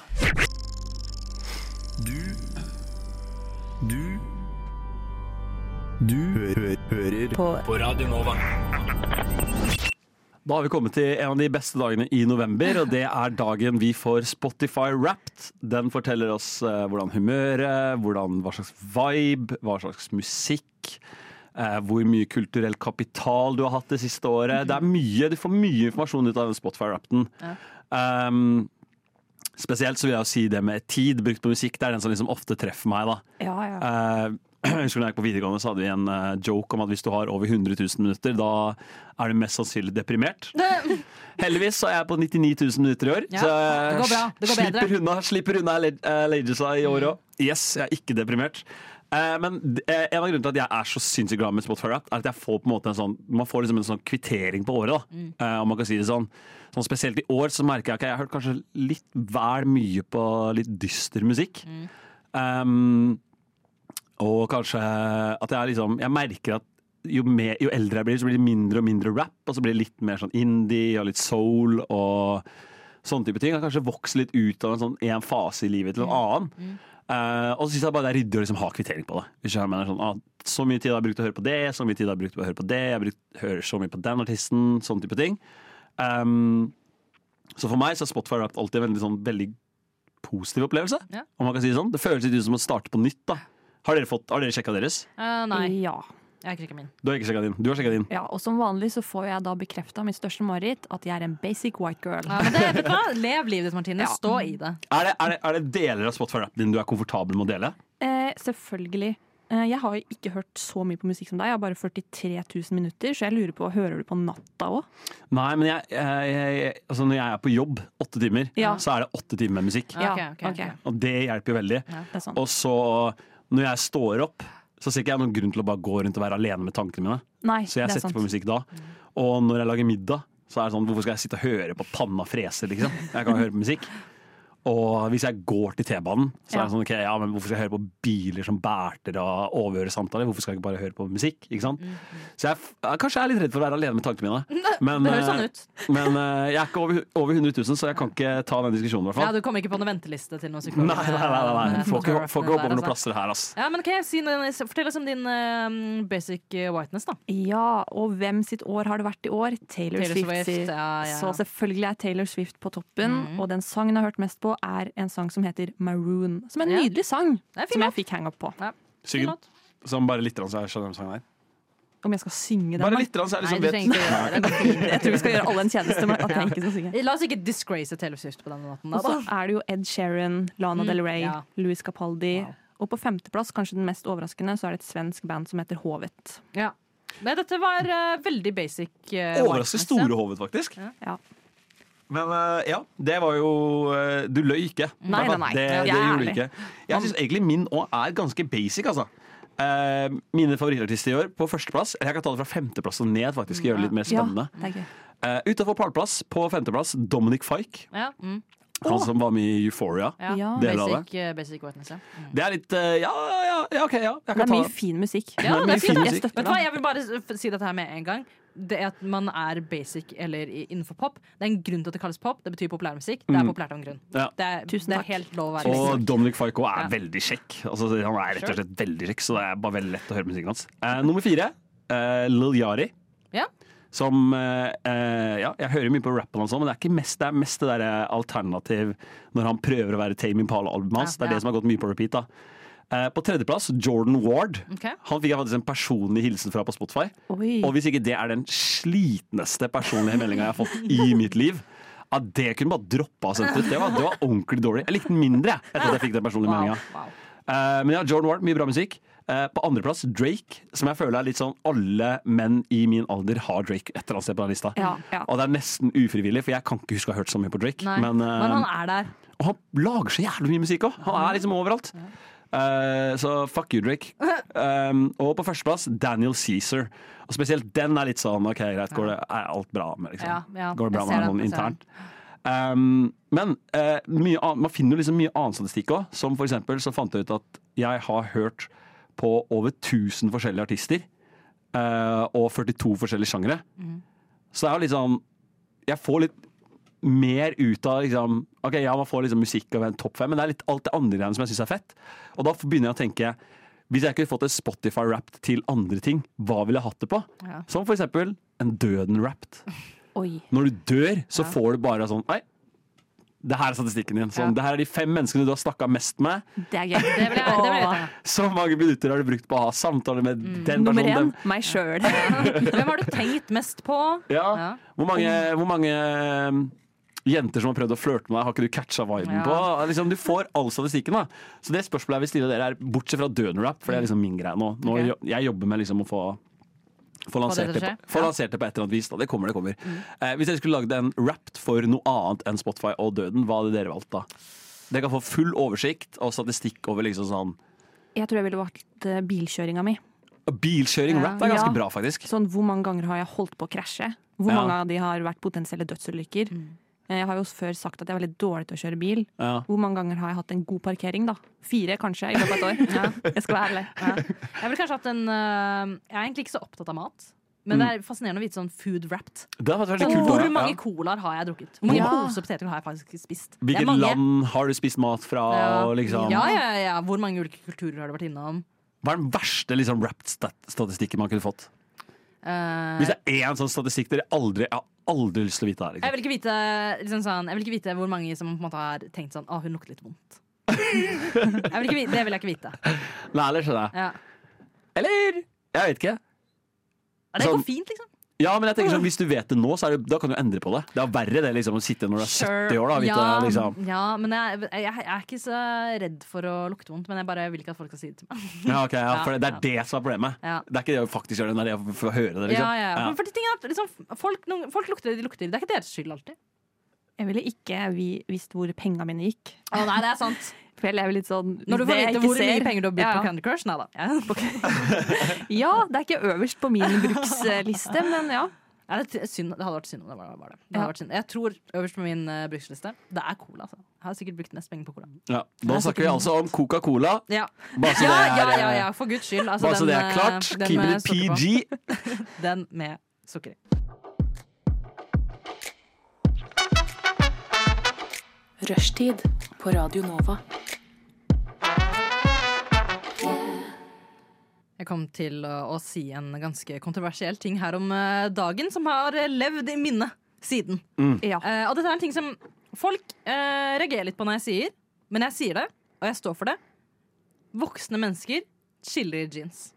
B: Da har vi kommet til en av de beste dagene i november, og det er dagen vi får Spotify Wrapped. Den forteller oss eh, hvordan humøret, hvordan, hva slags vibe, hva slags musikk. eh, hvor mye kulturell kapital du har hatt det siste året. Det er mye, Du får mye informasjon ut av den Spotify-rappen. Um, spesielt så vil jeg jo si det med tid brukt på musikk. Det er den som liksom ofte treffer meg. da.
G: Ja, ja.
B: Eh, jeg husker da jeg gikk på videregående så hadde vi en eh, joke om at hvis du har over 100 000 minutter, da er du mest sannsynlig deprimert. Heldigvis så er jeg på 99 000 minutter i år,
A: Ja,
B: så jeg
A: det går bra, det går bedre. Mm.
B: slipper unna, slipper unna alle- eh, Legisa i år òg. Yes, jeg er ikke deprimert. Eh, Men d- eh, en av grunnene til at jeg er så sinnssykt glad med Spotify Wrapped, er at jeg får på en måte en sånn, man får liksom en sånn kvittering på året. da,
A: Mm.
B: eh, om man kan si det sånn. sånn. Spesielt i år så merker jeg at jeg har hørt kanskje litt vel mye på litt dyster musikk.
A: Mm.
B: Um, og kanskje at jeg liksom Jeg merker at jo, mer, jo eldre jeg blir, så blir det mindre og mindre rap. Og så blir det litt mer sånn indie og litt soul og sånne type ting. Jeg har kanskje vokst litt ut av en sånn en fase i livet til en annen. Eh, og så syns jeg bare det er ryddig å liksom ha kvittering på det. Hvis jeg mener sånn, ah, så mye tid har jeg brukt til å høre på det, så mye tid har jeg brukt til å høre på det, jeg har brukt, hører så mye på den artisten, sånne type ting. Um, så for meg så er Spotify Wrapped alltid en veldig, sånn, veldig positiv opplevelse.
A: Ja.
B: Om man kan si det sånn. Det føles litt ut som å starte på nytt. da. Har dere, fått, har dere sjekka deres?
A: Eh, nei,
G: ja.
A: jeg har ikke sjekket min.
B: Du har ikke sjekka din. Du har sjekket din.
G: ja. Og som vanlig så får jeg da bekrefta mitt største mareritt, at jeg er en basic white girl.
A: Ja, men det, vet du hva? Lev livet ditt, Martine.
G: Ja.
A: Stå i det.
B: Er det, er, det, er det deler av Spotify Wrapped din du er komfortabel med å dele?
G: Eh, selvfølgelig. Eh, jeg har jo ikke hørt så mye på musikk som deg. Jeg har bare 43 000 minutter, så jeg lurer på, hører du på natta òg?
B: Nei, men jeg, jeg, jeg, altså når jeg er på jobb åtte timer,
G: Ja.
B: så er det åtte timer med musikk.
A: Ja,
G: Ja,
A: ok, ok,
G: ok.
A: ok.
B: Og det hjelper jo veldig.
G: Det er sant.
B: Og så, når jeg står opp, så ser ikke jeg noen grunn til å bare gå rundt og være alene med tankene mine.
G: Nei,
B: Så jeg
G: det er
B: setter
G: sant.
B: på musikk da. Og når jeg lager middag, så er det sånn Hvorfor skal jeg sitte og høre på panna frese, liksom? Jeg kan høre på musikk. Og hvis jeg går til T-banen, så er det
G: Ja.
B: sånn ok, ja, men hvorfor skal jeg høre på biler som bærter og overhører samtaler? Hvorfor skal jeg ikke bare høre på musikk? ikke sant? Så jeg, f- jeg kanskje jeg er litt redd for å være alene med tankene mine. Men,
A: Mhm. det høres sånn
B: eh,
A: ut.
B: men eh, jeg er ikke over, over 100 000, så jeg kan ikke ta den diskusjonen, i hvert
A: Ja,
B: fall.
A: du kommer ikke på noen venteliste til noen
B: Nei,
A: psykologer.
B: nei, nei, nei, nei. Får ikke, får ikke hoppe over
A: Der,
B: noen
A: altså.
B: plasser her, ass.
A: Ja, men ok, si noe- Fortell oss om din eh, basic whiteness, da.
G: Ja, og hvem sitt år har det vært i år? Taylor,
A: Taylor
G: Swift.
A: Swift,
G: sier-
A: ja, ja. Mhm.
G: Så selvfølgelig er Taylor Swift på toppen. Og den sangen jeg har hørt mest på, er en sang som heter Maroon. Som er en
A: Ja.
G: nydelig sang,
A: Det er fin
G: som jeg
A: låt.
G: fikk hang up på.
A: Fin
B: Sigurd,
A: låt.
B: som bare litt, grann så jeg skjønner hvem sangen er.
G: Om jeg skal synge den?
B: Bare
G: da?
B: litt, grann så jeg
A: Nei,
B: liksom
A: du
B: vet
A: trenger ikke gjøre det. det. er fint.
G: Jeg tror vi skal gjøre alle en tjeneste med at jeg ikke skal synge.
A: La oss ikke disgrace Taylor Swift på denne måten.
G: Og så
A: Da.
G: er det jo Ed Sheeran, Lana
A: Mm,
G: Del Rey,
A: ja.
G: Louis Capaldi. Og på femteplass, kanskje den mest overraskende, så er det et svensk band som heter Hovet.
A: Ja. Nei, dette var eh, veldig basic. eh,
B: Overraskende
A: whiteness,
B: store hovet, faktisk.
G: Ja.
B: Men eh, ja, det var jo eh, Du løy ikke.
G: Nei, nei, nei.
B: Det,
G: Jeg
B: det
G: er
B: gjorde du
G: ærlig.
B: ikke. Jeg syns egentlig min òg er ganske basic, altså. Eh, mine favorittartister i år på førsteplass. eller Jeg kan ta det fra femteplass og ned. faktisk og Gjøre det litt mer spennende
G: Ja, det er gøy.
B: Eh, Utenfor pallplass, på femteplass, Dominic Fike.
A: Ja, ja. Mm,
B: Han som var med i Euphoria.
A: ja.
G: Ja.
B: Deler av
A: Basic, eh, basic whiteness, ja. Mm.
B: Det er litt eh, Ja, ja, ja, OK, ja. Jeg
G: Det
B: kan
G: er
B: ta
G: mye fin musikk.
A: Ja, det
B: Men mye
A: er fint.
B: fin
A: da.
B: musikk.
A: Vet du hva, jeg vil bare s- si dette her med en gang. Det at man er basic eller i- innenfor pop. Det er en grunn til at det kalles pop. Det betyr populærmusikk. Det er
B: Mm.
A: populært av en grunn.
B: Ja.
A: Det er,
G: Tusen
A: det er
G: takk.
A: helt lov å være
B: Og
A: basic.
B: Dominic Fike også er
A: Ja.
B: veldig kjekk. Altså, han er rett og slett veldig kjekk, så det er bare veldig lett å høre musikken hans. Eh, nummer fire, eh, Lil Yari.
A: Ja.
B: Som eh, eh, Ja, jeg hører mye på rappen hans, også, men det er, ikke mest, det er mest det derre alternativ når han prøver å være Tame Impala-albumet hans.
A: Ja,
B: Det er
A: ja.
B: det som har gått mye på repeat. da. Eh, på tredjeplass, Jordan Ward.
A: Ok.
B: Han fikk jeg faktisk en personlig hilsen fra på Spotify.
G: Oi.
B: Og hvis ikke det er den slitneste personlige meldinga jeg har fått i mitt liv ja, Det kunne bare droppa og sendt ut. Det var, det var ordentlig dårlig. Jeg likte den mindre jeg, etter at jeg fikk den personlige
A: Wow,
B: meldinga.
A: wow.
B: men ja, Eh, Jordan Ward, mye bra musikk. Eh, På andreplass Drake, som jeg føler er litt sånn alle menn i min alder har Drake et eller annet sted på den lista.
C: Ja, ja.
B: Og det er nesten ufrivillig, for jeg kan ikke huske å ha hørt så mye på Drake.
A: Nei.
B: Men, eh,
A: Men han er der.
B: og han lager så jævlig mye musikk òg! Han er liksom overalt. Eh, så fuck you, Drake. Um, og på førsteplass Daniel Cæsar. Og spesielt den er litt sånn OK, greit, går det, er alt bra med liksom.
A: Ja, ja,
B: Går det bra
A: jeg ser
B: med
A: den,
B: noen
A: jeg ser den.
B: internt? Um, men eh, mye annet, man finner jo liksom mye annen statistikk òg. Som for eksempel så fant jeg ut at jeg har hørt på over 1000 forskjellige artister. eh, og 42 forskjellige sjangere.
A: Mm.
B: Så det er jo litt sånn Jeg får litt mer ut av liksom, Ok, ja, man får liksom musikk av en topp fem, men det er litt alt det andre greiene som jeg syns er fett. Og da begynner jeg å tenke Hvis jeg kunne fått et Spotify-rapt til andre ting, hva ville jeg hatt det på?
A: Ja.
B: Som for eksempel en Døden-rapt.
C: Oi.
B: Når du dør, så får du bare sånn Nei, det her er statistikken din. Sånn,
A: Ja.
B: Det her er de fem menneskene du har snakka mest med.
C: Det er gøy.
A: Det vil jeg, det vil jeg vite.
B: Så mange minutter har du brukt på å ha samtaler med
A: Mm.
B: den
C: Nummer
B: personen.
C: én,
B: den-
C: meg sjøl.
A: Hvem har du tenkt mest på?
B: Ja.
A: Ja.
B: Hvor mange, hvor mange um, jenter som har prøvd å flørte med deg, har ikke du catcha viben
A: Ja.
B: på? Liksom, du får all statistikken, da. Så det spørsmålet jeg vil stille dere, er bortsett fra døden-rap, for det er liksom min greie nå. nå
A: Ok.
B: jo- Jeg jobber med liksom å få få lansert,
A: det til
B: det
A: å
B: på,
A: skje? Mm.
B: få lansert det på et eller annet vis. Da. Det kommer, det kommer. Eh, hvis dere skulle lagd en rapt for noe annet enn Spotify og Døden, hva hadde dere valgt da? Dere kan få full oversikt og statistikk over liksom sånn
C: Jeg tror jeg ville valgt eh, bilkjøringa mi.
B: Bilkjøring rap er ganske
C: Ja.
B: bra, faktisk.
C: Sånn, hvor mange ganger har jeg holdt på å krasje? Hvor
B: Ja.
C: mange av de har vært potensielle dødsulykker? Eh, Jeg har jo før sagt at jeg var litt dårlig til å kjøre bil.
B: Ja.
C: Hvor mange ganger har jeg hatt en god parkering, da? Fire, kanskje, i løpet av et år. Jeg skal være ærlig.
A: Jeg ville kanskje hatt en øh, Jeg er egentlig ikke så opptatt av mat. Men det er fascinerende å vite sånn food wrapped.
B: Mm. Det hadde vært veldig
A: Sånn,
B: kult.
A: hvor
B: da.
A: mange
B: Ja.
A: colaer har jeg drukket? Hvor mange
C: Ja.
A: poser poteter har jeg faktisk spist? Det er
B: Hvilket
A: mange.
B: land har du spist mat fra?
A: Ja.
B: Og liksom.
A: ja, ja, ja. Hvor mange ulike kulturer har du vært innom?
B: Hva er den verste liksom, rap-statistikken man kunne fått?
A: Eh,
B: Hvis det er én sånn statistikk dere aldri Jeg har aldri lyst til å vite det
A: jeg,
B: her. Liksom.
A: vil ikke vite, liksom sånn, jeg vil ikke vite hvor mange som på en måte har tenkt sånn Å, hun lukter litt vondt. jeg vil ikke vite, det vil jeg ikke vite.
B: Nei, eller skjønner jeg.
A: Ja.
B: Eller Jeg vet ikke.
A: Ja, Det
B: Sånn-
A: går fint, liksom.
B: Ja, men jeg tenker sånn, Hvis du vet det nå, så er det, da kan du endre på det. Det er verre det liksom, å sitte når du er 70 år da, og vite
A: ja,
B: liksom.
A: ja, men jeg, jeg, jeg er ikke så redd for å lukte vondt, men jeg bare vil ikke at folk skal si det til meg.
B: ja, ok, ja, for Det
A: Ja.
B: er det som er problemet.
A: Ja.
B: Det er ikke det å faktisk gjøre det, det er det å få høre det.
A: Ja,
B: Liksom.
A: ja.
B: Ja.
A: Men fordi ting er, at liksom, folk, noen, folk lukter det de lukter. Det er ikke deres skyld alltid.
C: Jeg ville ikke vi- visst hvor penga mine gikk.
A: Å nei, det er sant.
C: For jeg lever litt sånn
A: Når du får
C: det jeg
A: vite
C: ikke
A: hvor mye
C: ser-
A: penger du har brukt
C: Ja.
A: på Candy Crush, nei da. Ja.
C: Ja, det er ikke øverst på min bruksliste, men ja.
A: Ja, det, er synd, det hadde vært synd om det var var det. det hadde
C: Ja.
A: vært synd. Jeg tror øverst på min eh, bruksliste, det er cola. Altså. Jeg har sikkert brukt mest penger på cola.
B: Ja. Da snakker vi altså om Coca-Cola.
A: Ja,
B: Bare så
A: ja,
B: det er, eh,
A: ja, ja, ja, for guds skyld. Altså,
B: Bare så det er
A: eh,
B: klart.
A: den
B: Keep
A: med
B: it
A: sukker på.
B: PG.
A: Den med sukker i.
H: Rushtid på Radio Nova.
A: Jeg kom til å, å si en ganske kontroversiell ting her om eh, dagen, som har eh, levd i minnet siden.
C: ja.
A: Eh, og dette er en ting som folk eh, reagerer litt på når jeg sier, men jeg sier det, og jeg står for det. Voksne mennesker chiller i jeans.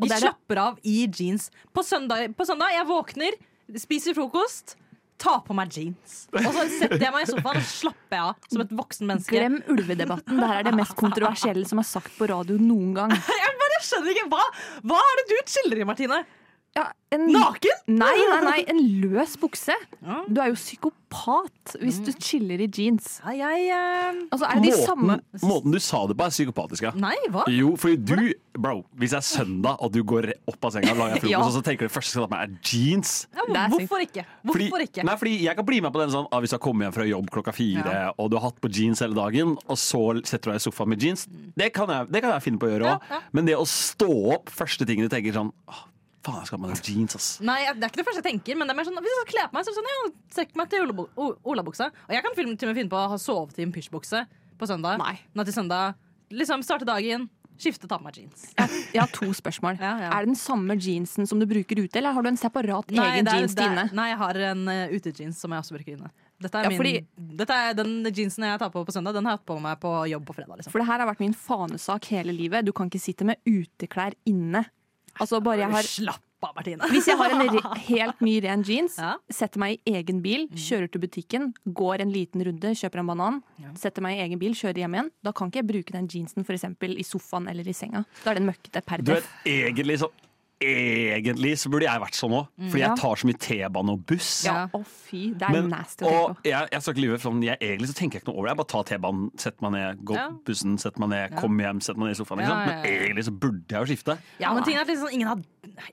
C: Og
A: De
C: det er det-
A: slapper av i jeans. På søndag, på søndag jeg våkner, spiser frokost, tar på meg jeans. Og så setter jeg meg i sofaen og slapper jeg av som et voksen menneske.
C: Glem ulvedebatten. Dette er det mest kontroversielle som er sagt på radio noen gang.
A: Jeg bare skjønner ikke, Hva, hva er det du chiller i, Martine?
C: Ja, en,
A: Naken?
C: Nei, nei, nei, en løs bukse. Du er jo psykopat hvis
A: Mm.
C: du chiller i jeans.
A: Ja, jeg eh,
C: Altså, er det de samme
B: Måten, måten du sa det på, er psykopatisk. Ja.
A: Nei, hva?
B: Jo, fordi du, bro, hvis det er søndag og du går re- opp av senga og lager frokost,
C: Ja.
B: og så tenker du det første som skal ta på meg, er jeans.
A: Ja,
C: Det er sykt.
A: hvorfor ikke?
B: Fordi,
A: Hvorfor ikke?
B: Nei, fordi Jeg kan bli med på den sånn ah, hvis du har kommet hjem fra jobb klokka fire
A: Ja.
B: og du har hatt på jeans hele dagen, og så setter du deg i sofaen med jeans. Det kan jeg, det kan jeg finne på å gjøre òg.
A: Ja, ja.
B: Men det å stå opp, første ting du tenker sånn ah, Faen, jeg skal ha på meg jeans, ass.
A: Nei, jeg- det er ikke det første jeg tenker, men det er mer sånn, hvis jeg skal kle på meg, så er det sånn, ja, trekk meg til olabo- o- olabuksa. Og jeg kan film- til og med finne på å ha sovet i en pysjbukse på søndag.
C: Nei.
A: Natt til søndag. Liksom starte dagen, skifte, ta på meg jeans.
C: Jeg har to spørsmål.
A: Ja, ja.
C: Er det den samme jeansen som du bruker ute, eller har du en separat egen
A: det er- det er-
C: jeans til inne?
A: Nei, jeg har en eh, utejeans som jeg også bruker inne. Dette er,
C: Ja,
A: min,
C: fordi-
A: dette er den jeansen jeg tar på på søndag, den har jeg hatt på meg på jobb på fredag. Liksom.
C: For det her har vært min fanesak hele livet. Du kan ikke sitte med uteklær inne. Altså, bare jeg har
A: Slapp Pappa, Martine.
C: Hvis jeg har en re helt ny ren jeans,
A: Ja. Mm.
C: setter meg i egen bil, kjører til butikken, går en liten runde, kjøper en banan, setter meg i egen bil, kjører hjem igjen, da kan ikke jeg bruke den jeansen for eksempel, i sofaen eller i senga. Da er den møkkete per
B: Du vet,
C: def.
B: egentlig så Egentlig så burde jeg vært sånn òg, fordi
A: Mm,
B: jeg tar så mye T-bane og buss.
C: Ja, å fy, det er
B: Men-
C: nasty å
B: og
C: tenke på.
B: jeg, jeg skal ikke lyve, for jeg, egentlig så tenker jeg ikke noe over det. Jeg bare tar T-banen, setter meg ned, går
A: Ja.
B: på bussen, setter meg ned, kommer hjem, setter meg ned i sofaen.
A: Ja,
B: Ikke sant?
A: ja, ja.
B: Men egentlig så burde jeg jo skifte.
A: Ja, men ting er at liksom, ingen har,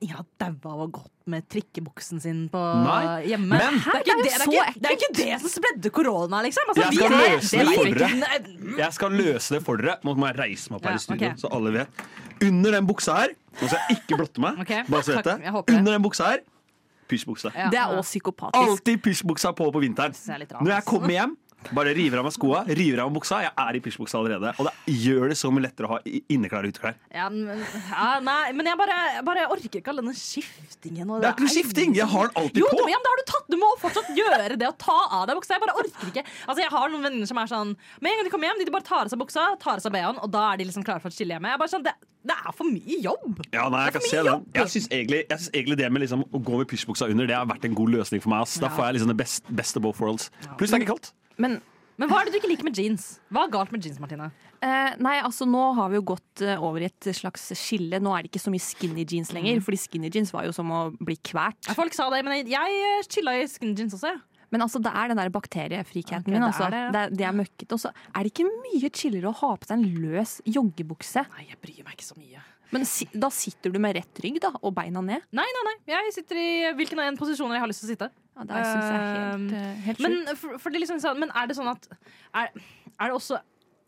A: ingen har daua av å ha gått med trikkebuksen sin på
B: Nei,
A: hjemme.
B: men-
A: det, er ikke det, det, er ikke, det er ikke det som spredde korona, liksom! Altså,
B: Jeg
A: vi
B: skal
A: er- det
B: løse det
A: er
B: for
A: ikke-
B: Jeg skal løse det for dere. Nå må jeg reise meg opp her
A: Ja,
B: i studio,
A: ok.
B: så alle vet. Under den buksa her Nå skal jeg ikke blotte meg.
A: Ok,
B: Bare så
A: takk,
B: vet
A: jeg
B: det.
A: håper det.
B: Under den buksa her pysjbukse.
A: Ja,
C: Det er
A: ja.
C: også psykopatisk.
B: Alltid pysjbuksa på på vinteren.
A: Det er litt rart. altså.
B: Når jeg kommer hjem, bare river av meg skoa, river av meg buksa. Jeg er i pysjbuksa allerede. Og det gjør det så mye lettere å ha i- inneklær og uteklær.
A: Ja, men, ja, nei, men jeg bare, jeg bare orker ikke all denne skiftingen. og
B: Det er ikke noe skifting! Jeg har den alltid
A: jo,
B: på.
A: du, ja, men da har du tatt Du må fortsatt gjøre det å ta av deg buksa. Jeg bare orker ikke Altså, jeg har noen venner som er sånn Med en gang de kommer hjem, de bare tar av seg buksa, tar av seg BH-en, og da er de liksom klare for et skille hjemme. Jeg er bare sånn, det, det er for mye jobb.
B: Ja, nei, jeg kan se den. Jeg syns egentlig, jeg synes egentlig det med liksom å gå med pysjbuksa under Det har vært en god løsning for meg. Ass. Da får jeg liksom det best, best of both worlds. Pluss det er ikke kaldt.
C: Men
A: Men hva er det du ikke liker med jeans? Hva er galt med jeans, Martine?
C: Eh, nei, altså nå har vi jo gått eh, over i et slags skille. Nå er det ikke så mye skinny jeans
A: Mm.
C: lenger, fordi skinny jeans var jo som å bli kvært.
A: Ja, Folk sa det, men jeg, jeg chilla i skinny jeans også. jeg.
C: Men altså, det er den der bakteriefrikheten
A: Ok,
C: min.
A: det er
C: Altså.
A: det,
C: Det,
A: ja.
C: er det, er møkkete. Og så er det ikke mye chillere å ha på seg en løs joggebukse.
A: Nei, jeg bryr meg ikke så mye.
C: Men si, da sitter du med rett rygg da, og beina ned.
A: Nei, nei, nei. Jeg sitter i hvilken av en posisjoner jeg har lyst til å sitte.
C: Ja, det syns jeg er helt,
A: Eh,
C: eh, helt
A: Men,
C: sjukt.
A: for, for det liksom, sånn- men er det sånn at er, er det også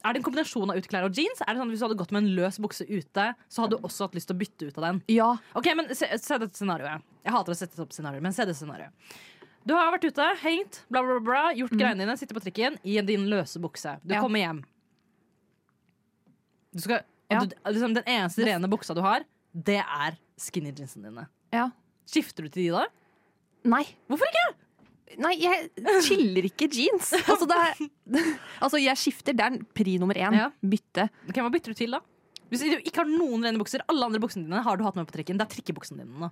A: er det en kombinasjon av uteklær og jeans? Er det sånn at Hvis du hadde gått med en løs bukse ute, så hadde du også hatt lyst til å bytte ut av den?
C: Ja,
A: Ok, men Se, se dette scenarioet. Jeg hater å sette opp scenarioer, men se dette scenarioet. Du har vært ute, hengt, bla, bla, bla, gjort greiene dine, sitter på trikken i din løse bukse. Du
C: Mm. Ja.
A: kommer hjem. Du skal, og
C: Ja.
A: du, liksom, den eneste rene buksa du har, det er skinny jeansene dine.
C: ja.
A: Skifter du til de da?
C: Nei.
A: Hvorfor ikke?
C: Nei, jeg chiller ikke jeans. Altså, det er, altså jeg skifter. Det er pri nummer én.
A: Ja.
C: Bytte.
A: Ok, hva bytter du til da? Hvis du ikke har noen rene bukser, alle andre buksene dine har du hatt med på trikken. Det er trikkebuksene dine nå.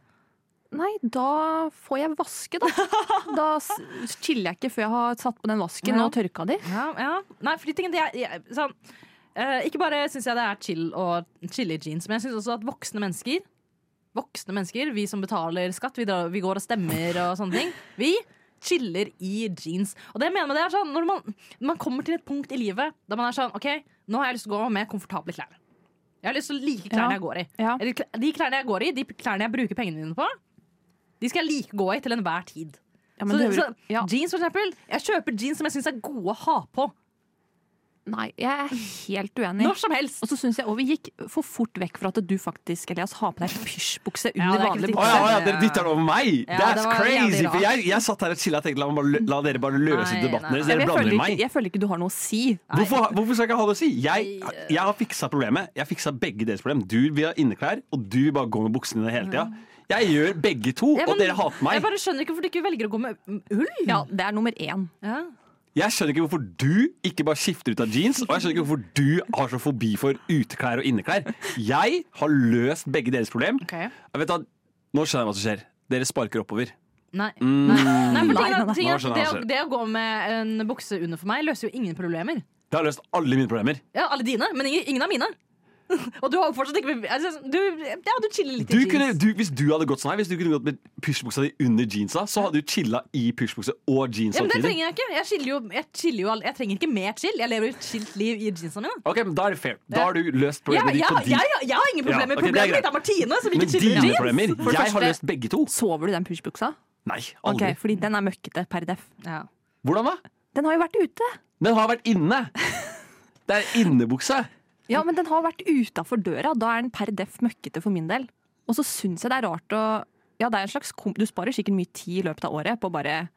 C: Nei, da får jeg vaske, da. Da s- chiller jeg ikke før jeg har satt på den vasken
A: Ja.
C: og tørka de.
A: Ja, ja. Nei, fordi tingen, det er, jeg, sånn, eh, ikke bare syns jeg det er chill å chille i jeans, men jeg syns også at voksne mennesker Voksne mennesker, vi som betaler skatt, vi, drar, vi går og stemmer og sånne ting. Vi chiller i jeans. Og det jeg mener med det er sånn, når man, når man kommer til et punkt i livet da man er sånn OK, nå har jeg lyst til å gå med komfortable klær. Jeg har lyst til å like klærne
C: Ja.
A: jeg går i.
C: Ja.
A: Eller kl- De klærne jeg går i, de klærne jeg bruker pengene mine på, de skal jeg like gå i til enhver tid.
C: Ja,
A: så,
C: men det-
A: så,
C: ja.
A: Jeans, for eksempel. Jeg kjøper jeans som jeg syns er gode å ha på.
C: Nei, jeg er helt uenig.
A: Når som helst.
C: Og så syns jeg også vi gikk for fort vekk fra at du faktisk Elias, har på deg pysjbukse under
A: det er
C: vanlig
A: kritikk.
B: Å
C: bukse.
B: ja, å ja, dere dytter den over meg!
A: Ja,
B: That's
A: det var
B: crazy!
A: jævlig
B: For
A: rart.
B: jeg, jeg satt her og chilla og tenkte la, meg bare, la dere bare løse
A: Nei, nei,
B: debatten deres.
A: nei.
C: Jeg
B: Dere
C: føler,
B: blander
C: ikke,
B: meg.
C: jeg føler ikke du har noe å si.
B: Hvorfor, hvorfor skal jeg ikke ha det å si? Jeg, jeg har fiksa problemet. Jeg fiksa begge deres problem. Du vil ha inneklær, og du vil bare gå med buksene dine hele tida. Jeg gjør begge to,
A: Ja,
B: og
A: men
B: dere hater
A: Jeg
B: meg.
A: bare skjønner ikke hvorfor du ikke velger å gå med mm, ull.
C: Ja, det er nummer én.
A: Ja.
B: Jeg skjønner ikke hvorfor du ikke bare skifter ut av jeans, og jeg skjønner ikke hvorfor du har så fobi for uteklær og inneklær. Jeg har løst begge deres problem.
A: Ok.
B: Jeg vet da, nå skjønner jeg hva som skjer. Dere sparker oppover.
A: Nei. Nei. Nei, for
C: Nei,
A: tingen er-
C: nei,
A: tingen er
B: Mm. nå skjønner
A: at det,
B: jeg
A: å- det å gå med en bukse under for meg løser jo ingen problemer.
B: Det har løst alle mine problemer.
A: Ja, Alle dine, men ingen, ingen av mine. Og du har fortsatt ikke altså, du, Ja, du chiller litt
B: Du
A: i
B: kunne,
A: jeans.
B: du, hvis du hadde gått sånn her Hvis du kunne gått med pysjbuksa di under jeansa, så hadde du chilla i pysjbukse og jeans
A: ja, men det
B: samtidig.
A: trenger jeg ikke. Jeg, chiller jo, jeg, chiller jo, all- jeg trenger ikke mer chill. Jeg lever jo et chillt liv i jeansa mine.
B: Ok, men Da er det fair. Da har du løst
A: Jeg,
B: problemet
A: jeg,
B: ditt på
A: jeg,
B: din
A: jeg, har ingen problemer.
B: Ja, ok, det er
A: problemet
B: greit.
A: mitt er Martine, som ikke
B: Men
A: chiller i
B: dine
A: jeans.
B: problemer.
C: For
B: Jeg
C: det
B: har
C: første-
B: løst begge to.
C: Sover du i den pysjbuksa?
B: Nei, aldri.
C: Ok, fordi den er møkkete per def.
A: Ja.
B: Hvordan da?
C: Den har jo vært ute!
B: Den har vært inne. Det er innebukse.
C: Ja, men den har vært utafor døra. Da er den per def møkkete for min del. Og så syns jeg det er rart å Ja, det er en slags kom Du sparer sikkert mye tid i løpet av året på å bare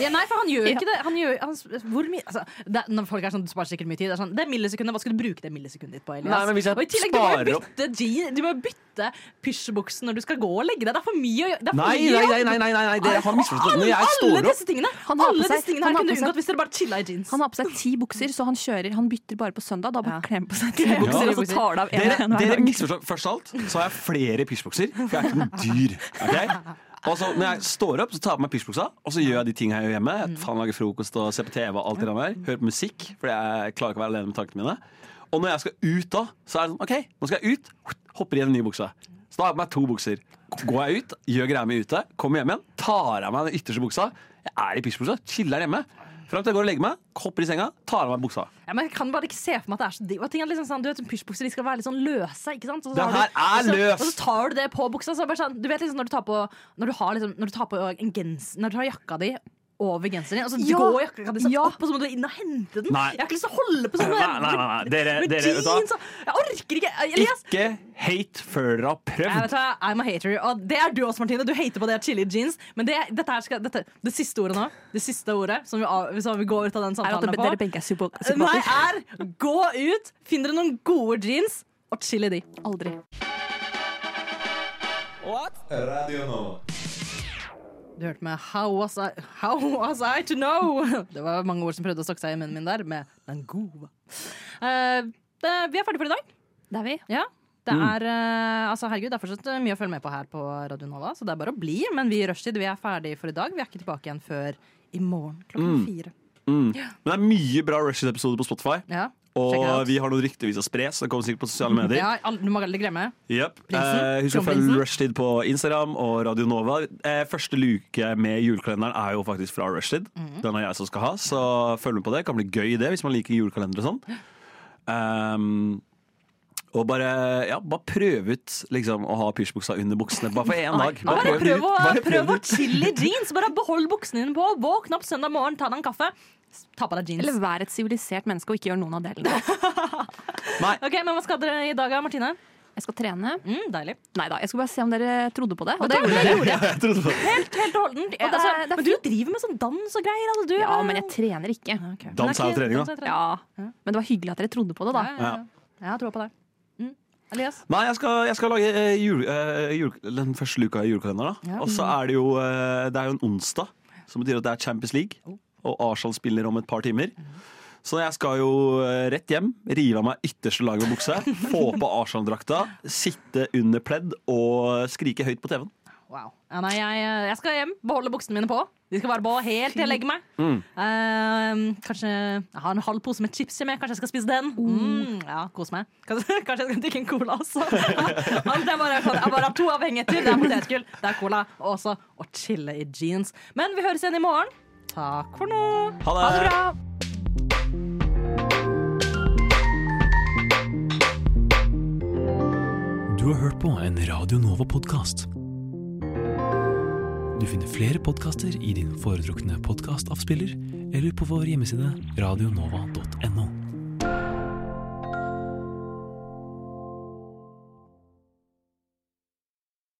A: Ja, nei, for han gjør jo ikke det. Han gjør, han, s- hvor mye altså, det, er- Når folk er sånn, du sparer sikkert mye tid. Det er, sånn, det er millisekundet, hva skal du bruke det millisekundet ditt på? Elias?
B: Nei, men hvis jeg
A: og i tillegg, du må
B: sparer
A: jo
B: opp-
A: bytte, jean- du må jo bytte pysjbuksen når du skal gå og legge deg. Det er for mye å gjøre. det er for
B: Nei,
A: mye
B: nei,
A: å-
B: nei, nei, nei, nei, nei dere har misforstått. Når jeg
A: alle
B: står opp
A: disse tingene
C: Han har på
A: Alle
C: seg-
A: disse tingene her kunne
C: han har på
A: du
C: seg-
A: unngått hvis dere bare chilla i jeans.
C: Han har på seg ti bukser, så han kjører. Han bytter bare på søndag. Da bare
A: Ja.
C: klemmer på seg ti bukser,
B: Ja.
C: og så tar det av en,
B: Dere,
C: en hver
B: dere
C: dag.
B: misforstår. Først av alt så har jeg flere pysjbukser, for jeg er ikke noen dyr. ok? Og så Når jeg står opp, så tar jeg på meg pysjbuksa, og så gjør jeg de tingene jeg gjør hjemme.
A: Mm.
B: Jeg faen lager frokost og ser på TV og alt det der. Hører på musikk, for jeg klarer ikke å være alene med tankene mine. Og når jeg skal ut da, så er det sånn OK, nå skal jeg ut. Hopper i en ny bukse. Så da har jeg på meg to bukser. Går jeg ut, gjør greia mi ute, kommer hjem igjen, tar av meg den ytterste buksa. Jeg er i pysjbuksa, chiller hjemme. Fram til jeg går og legger meg, hopper i senga, tar av meg buksa.
A: Ja, men jeg kan bare ikke se for meg at det er så digg. Og ting er liksom sånn, du vet, sånn Pysjbukser de skal være litt sånn løse. ikke sant? Og
B: Det
A: har
B: her er
A: du, og så-
B: løst!
A: Og så tar du det på buksa. Så er det bare sånn, du vet liksom Når du tar på Når du har, liksom, når du tar på en gens, Når du har jakka di over genseren din, og så
C: Ja.
A: går jakka di sånn
C: Ja.
A: opp, og så må du inn og hente den.
B: Nei.
A: Jeg har ikke lyst til å holde på sånn.
B: Nei, nei, nei, nei. Dere-
A: med
B: dere, vet du hva?
A: jeans, og- Jeg orker ikke. Elias!
B: Ikke hate før dere har
A: Jeg vet
B: prøvd.
A: hva, I'm a hater. Og det er du også, Martine. Du hater på det chili jeans. Men det, dette her skal, dette, det siste ordet nå, det siste ordet som vi, av- som vi går ut av den
C: Er
A: samtalen
C: at det-
A: her på
C: dere begge er psyko-
A: Nei,
C: psykopater.
A: er gå ut, finn dere noen gode jeans og chill i de.
C: Aldri.
I: Radio Nova.
A: Du hørte med How was I, how was I to know? Det var mange ord som prøvde å stokke seg i munnen min der, med den gode. Eh, det, vi er ferdige for i dag.
C: Det er vi.
A: Ja. Det er, eh, altså, herregud, det er fortsatt mye å følge med på her på Radio Nova, så det er bare å bli. Men vi i Rushtid vi er ferdige for i dag. Vi er ikke tilbake igjen før i morgen klokken fire.
B: Men det er mye bra Rushes-episoder på Spotify.
A: Ja.
B: Og
A: Check it out. Mm.
B: vi har noen rykter vi skal spre, så det kommer sikkert på sosiale medier.
A: ja, all- du må aldri glemme.
B: Jep.
A: Prinsen,
B: Eh, husk å
A: kronprinsen.
B: følge Rushtid på Instagram og Radio Nova. Eh, første luke med julekalenderen er jo faktisk fra Rushtid.
A: Mhm.
B: Den er jeg som skal ha, så følg med på det. Det kan bli gøy det, hvis man liker julekalender og sånn. Ehm, og bare, ja, bare prøv ut liksom, å ha pysjbuksa under buksene. Bare for én dag.
A: Bare
B: det
A: prøv
B: ut.
A: å,
B: Bare
A: prøv å
B: det ut.
A: chille i jeans. Bare behold buksene dine på. Våkn opp søndag morgen, ta deg en kaffe. Ta på deg
C: Eller
A: jeans.
C: vær et sivilisert menneske og ikke gjør noen av delene.
A: Ok, men Hva skal dere i dag, da, Martine?
C: Jeg skal trene.
A: Mm, deilig.
C: Nei da, jeg skal bare se om dere trodde på det. Og
A: det
C: det
A: gjorde
C: gjorde
A: dere.
B: Ja,
C: dere.
B: jeg trodde på det.
A: Helt, helt og holdent.
C: er-
A: altså,
C: det er
A: men du driver med sånn dans og greier. Alle, du,
C: Ja, men jeg trener ikke.
B: Dans er jo trening, da.
A: Ja.
C: Ja, Men det var hyggelig at dere trodde på det,
A: Ja,
C: da.
A: ja, ja. Jeg har troa på deg. Mm. Elias?
B: Nei, jeg skal, jeg skal lage eh, jul, eh, jul, den første luka i julekalenderen. da.
A: Ja.
B: Og så er det jo eh, Det er jo en onsdag, som betyr at det er Champions League. Og Arsenal spiller om et par timer. Så jeg skal jo eh, rett hjem, rive av meg ytterste laget av bukse, få på Arsenal-drakta, sitte under pledd og skrike høyt på TV-en.
A: Wow. Ja, nei, jeg, eh, jeg skal hjem, beholde buksene mine på. De skal være på helt til jeg legger meg.
B: Mm.
A: Eh, kanskje Jeg har en halv pose med chips hjemme. Kanskje jeg skal spise den.
B: Uh.
A: Mm, ja, Kos meg. Kanskje, kanskje jeg skal drikke en cola også. Alt jeg, bare, jeg bare har to avhengigheter. Det er potetgull, det er cola og også å chille i jeans. Men vi høres igjen i morgen. Takk for nå.
B: Ha det bra!
J: Du har hørt på en Radio Nova-podkast. Du finner flere podkaster i din foretrukne podkastavspiller eller på vår hjemmeside radionova.no.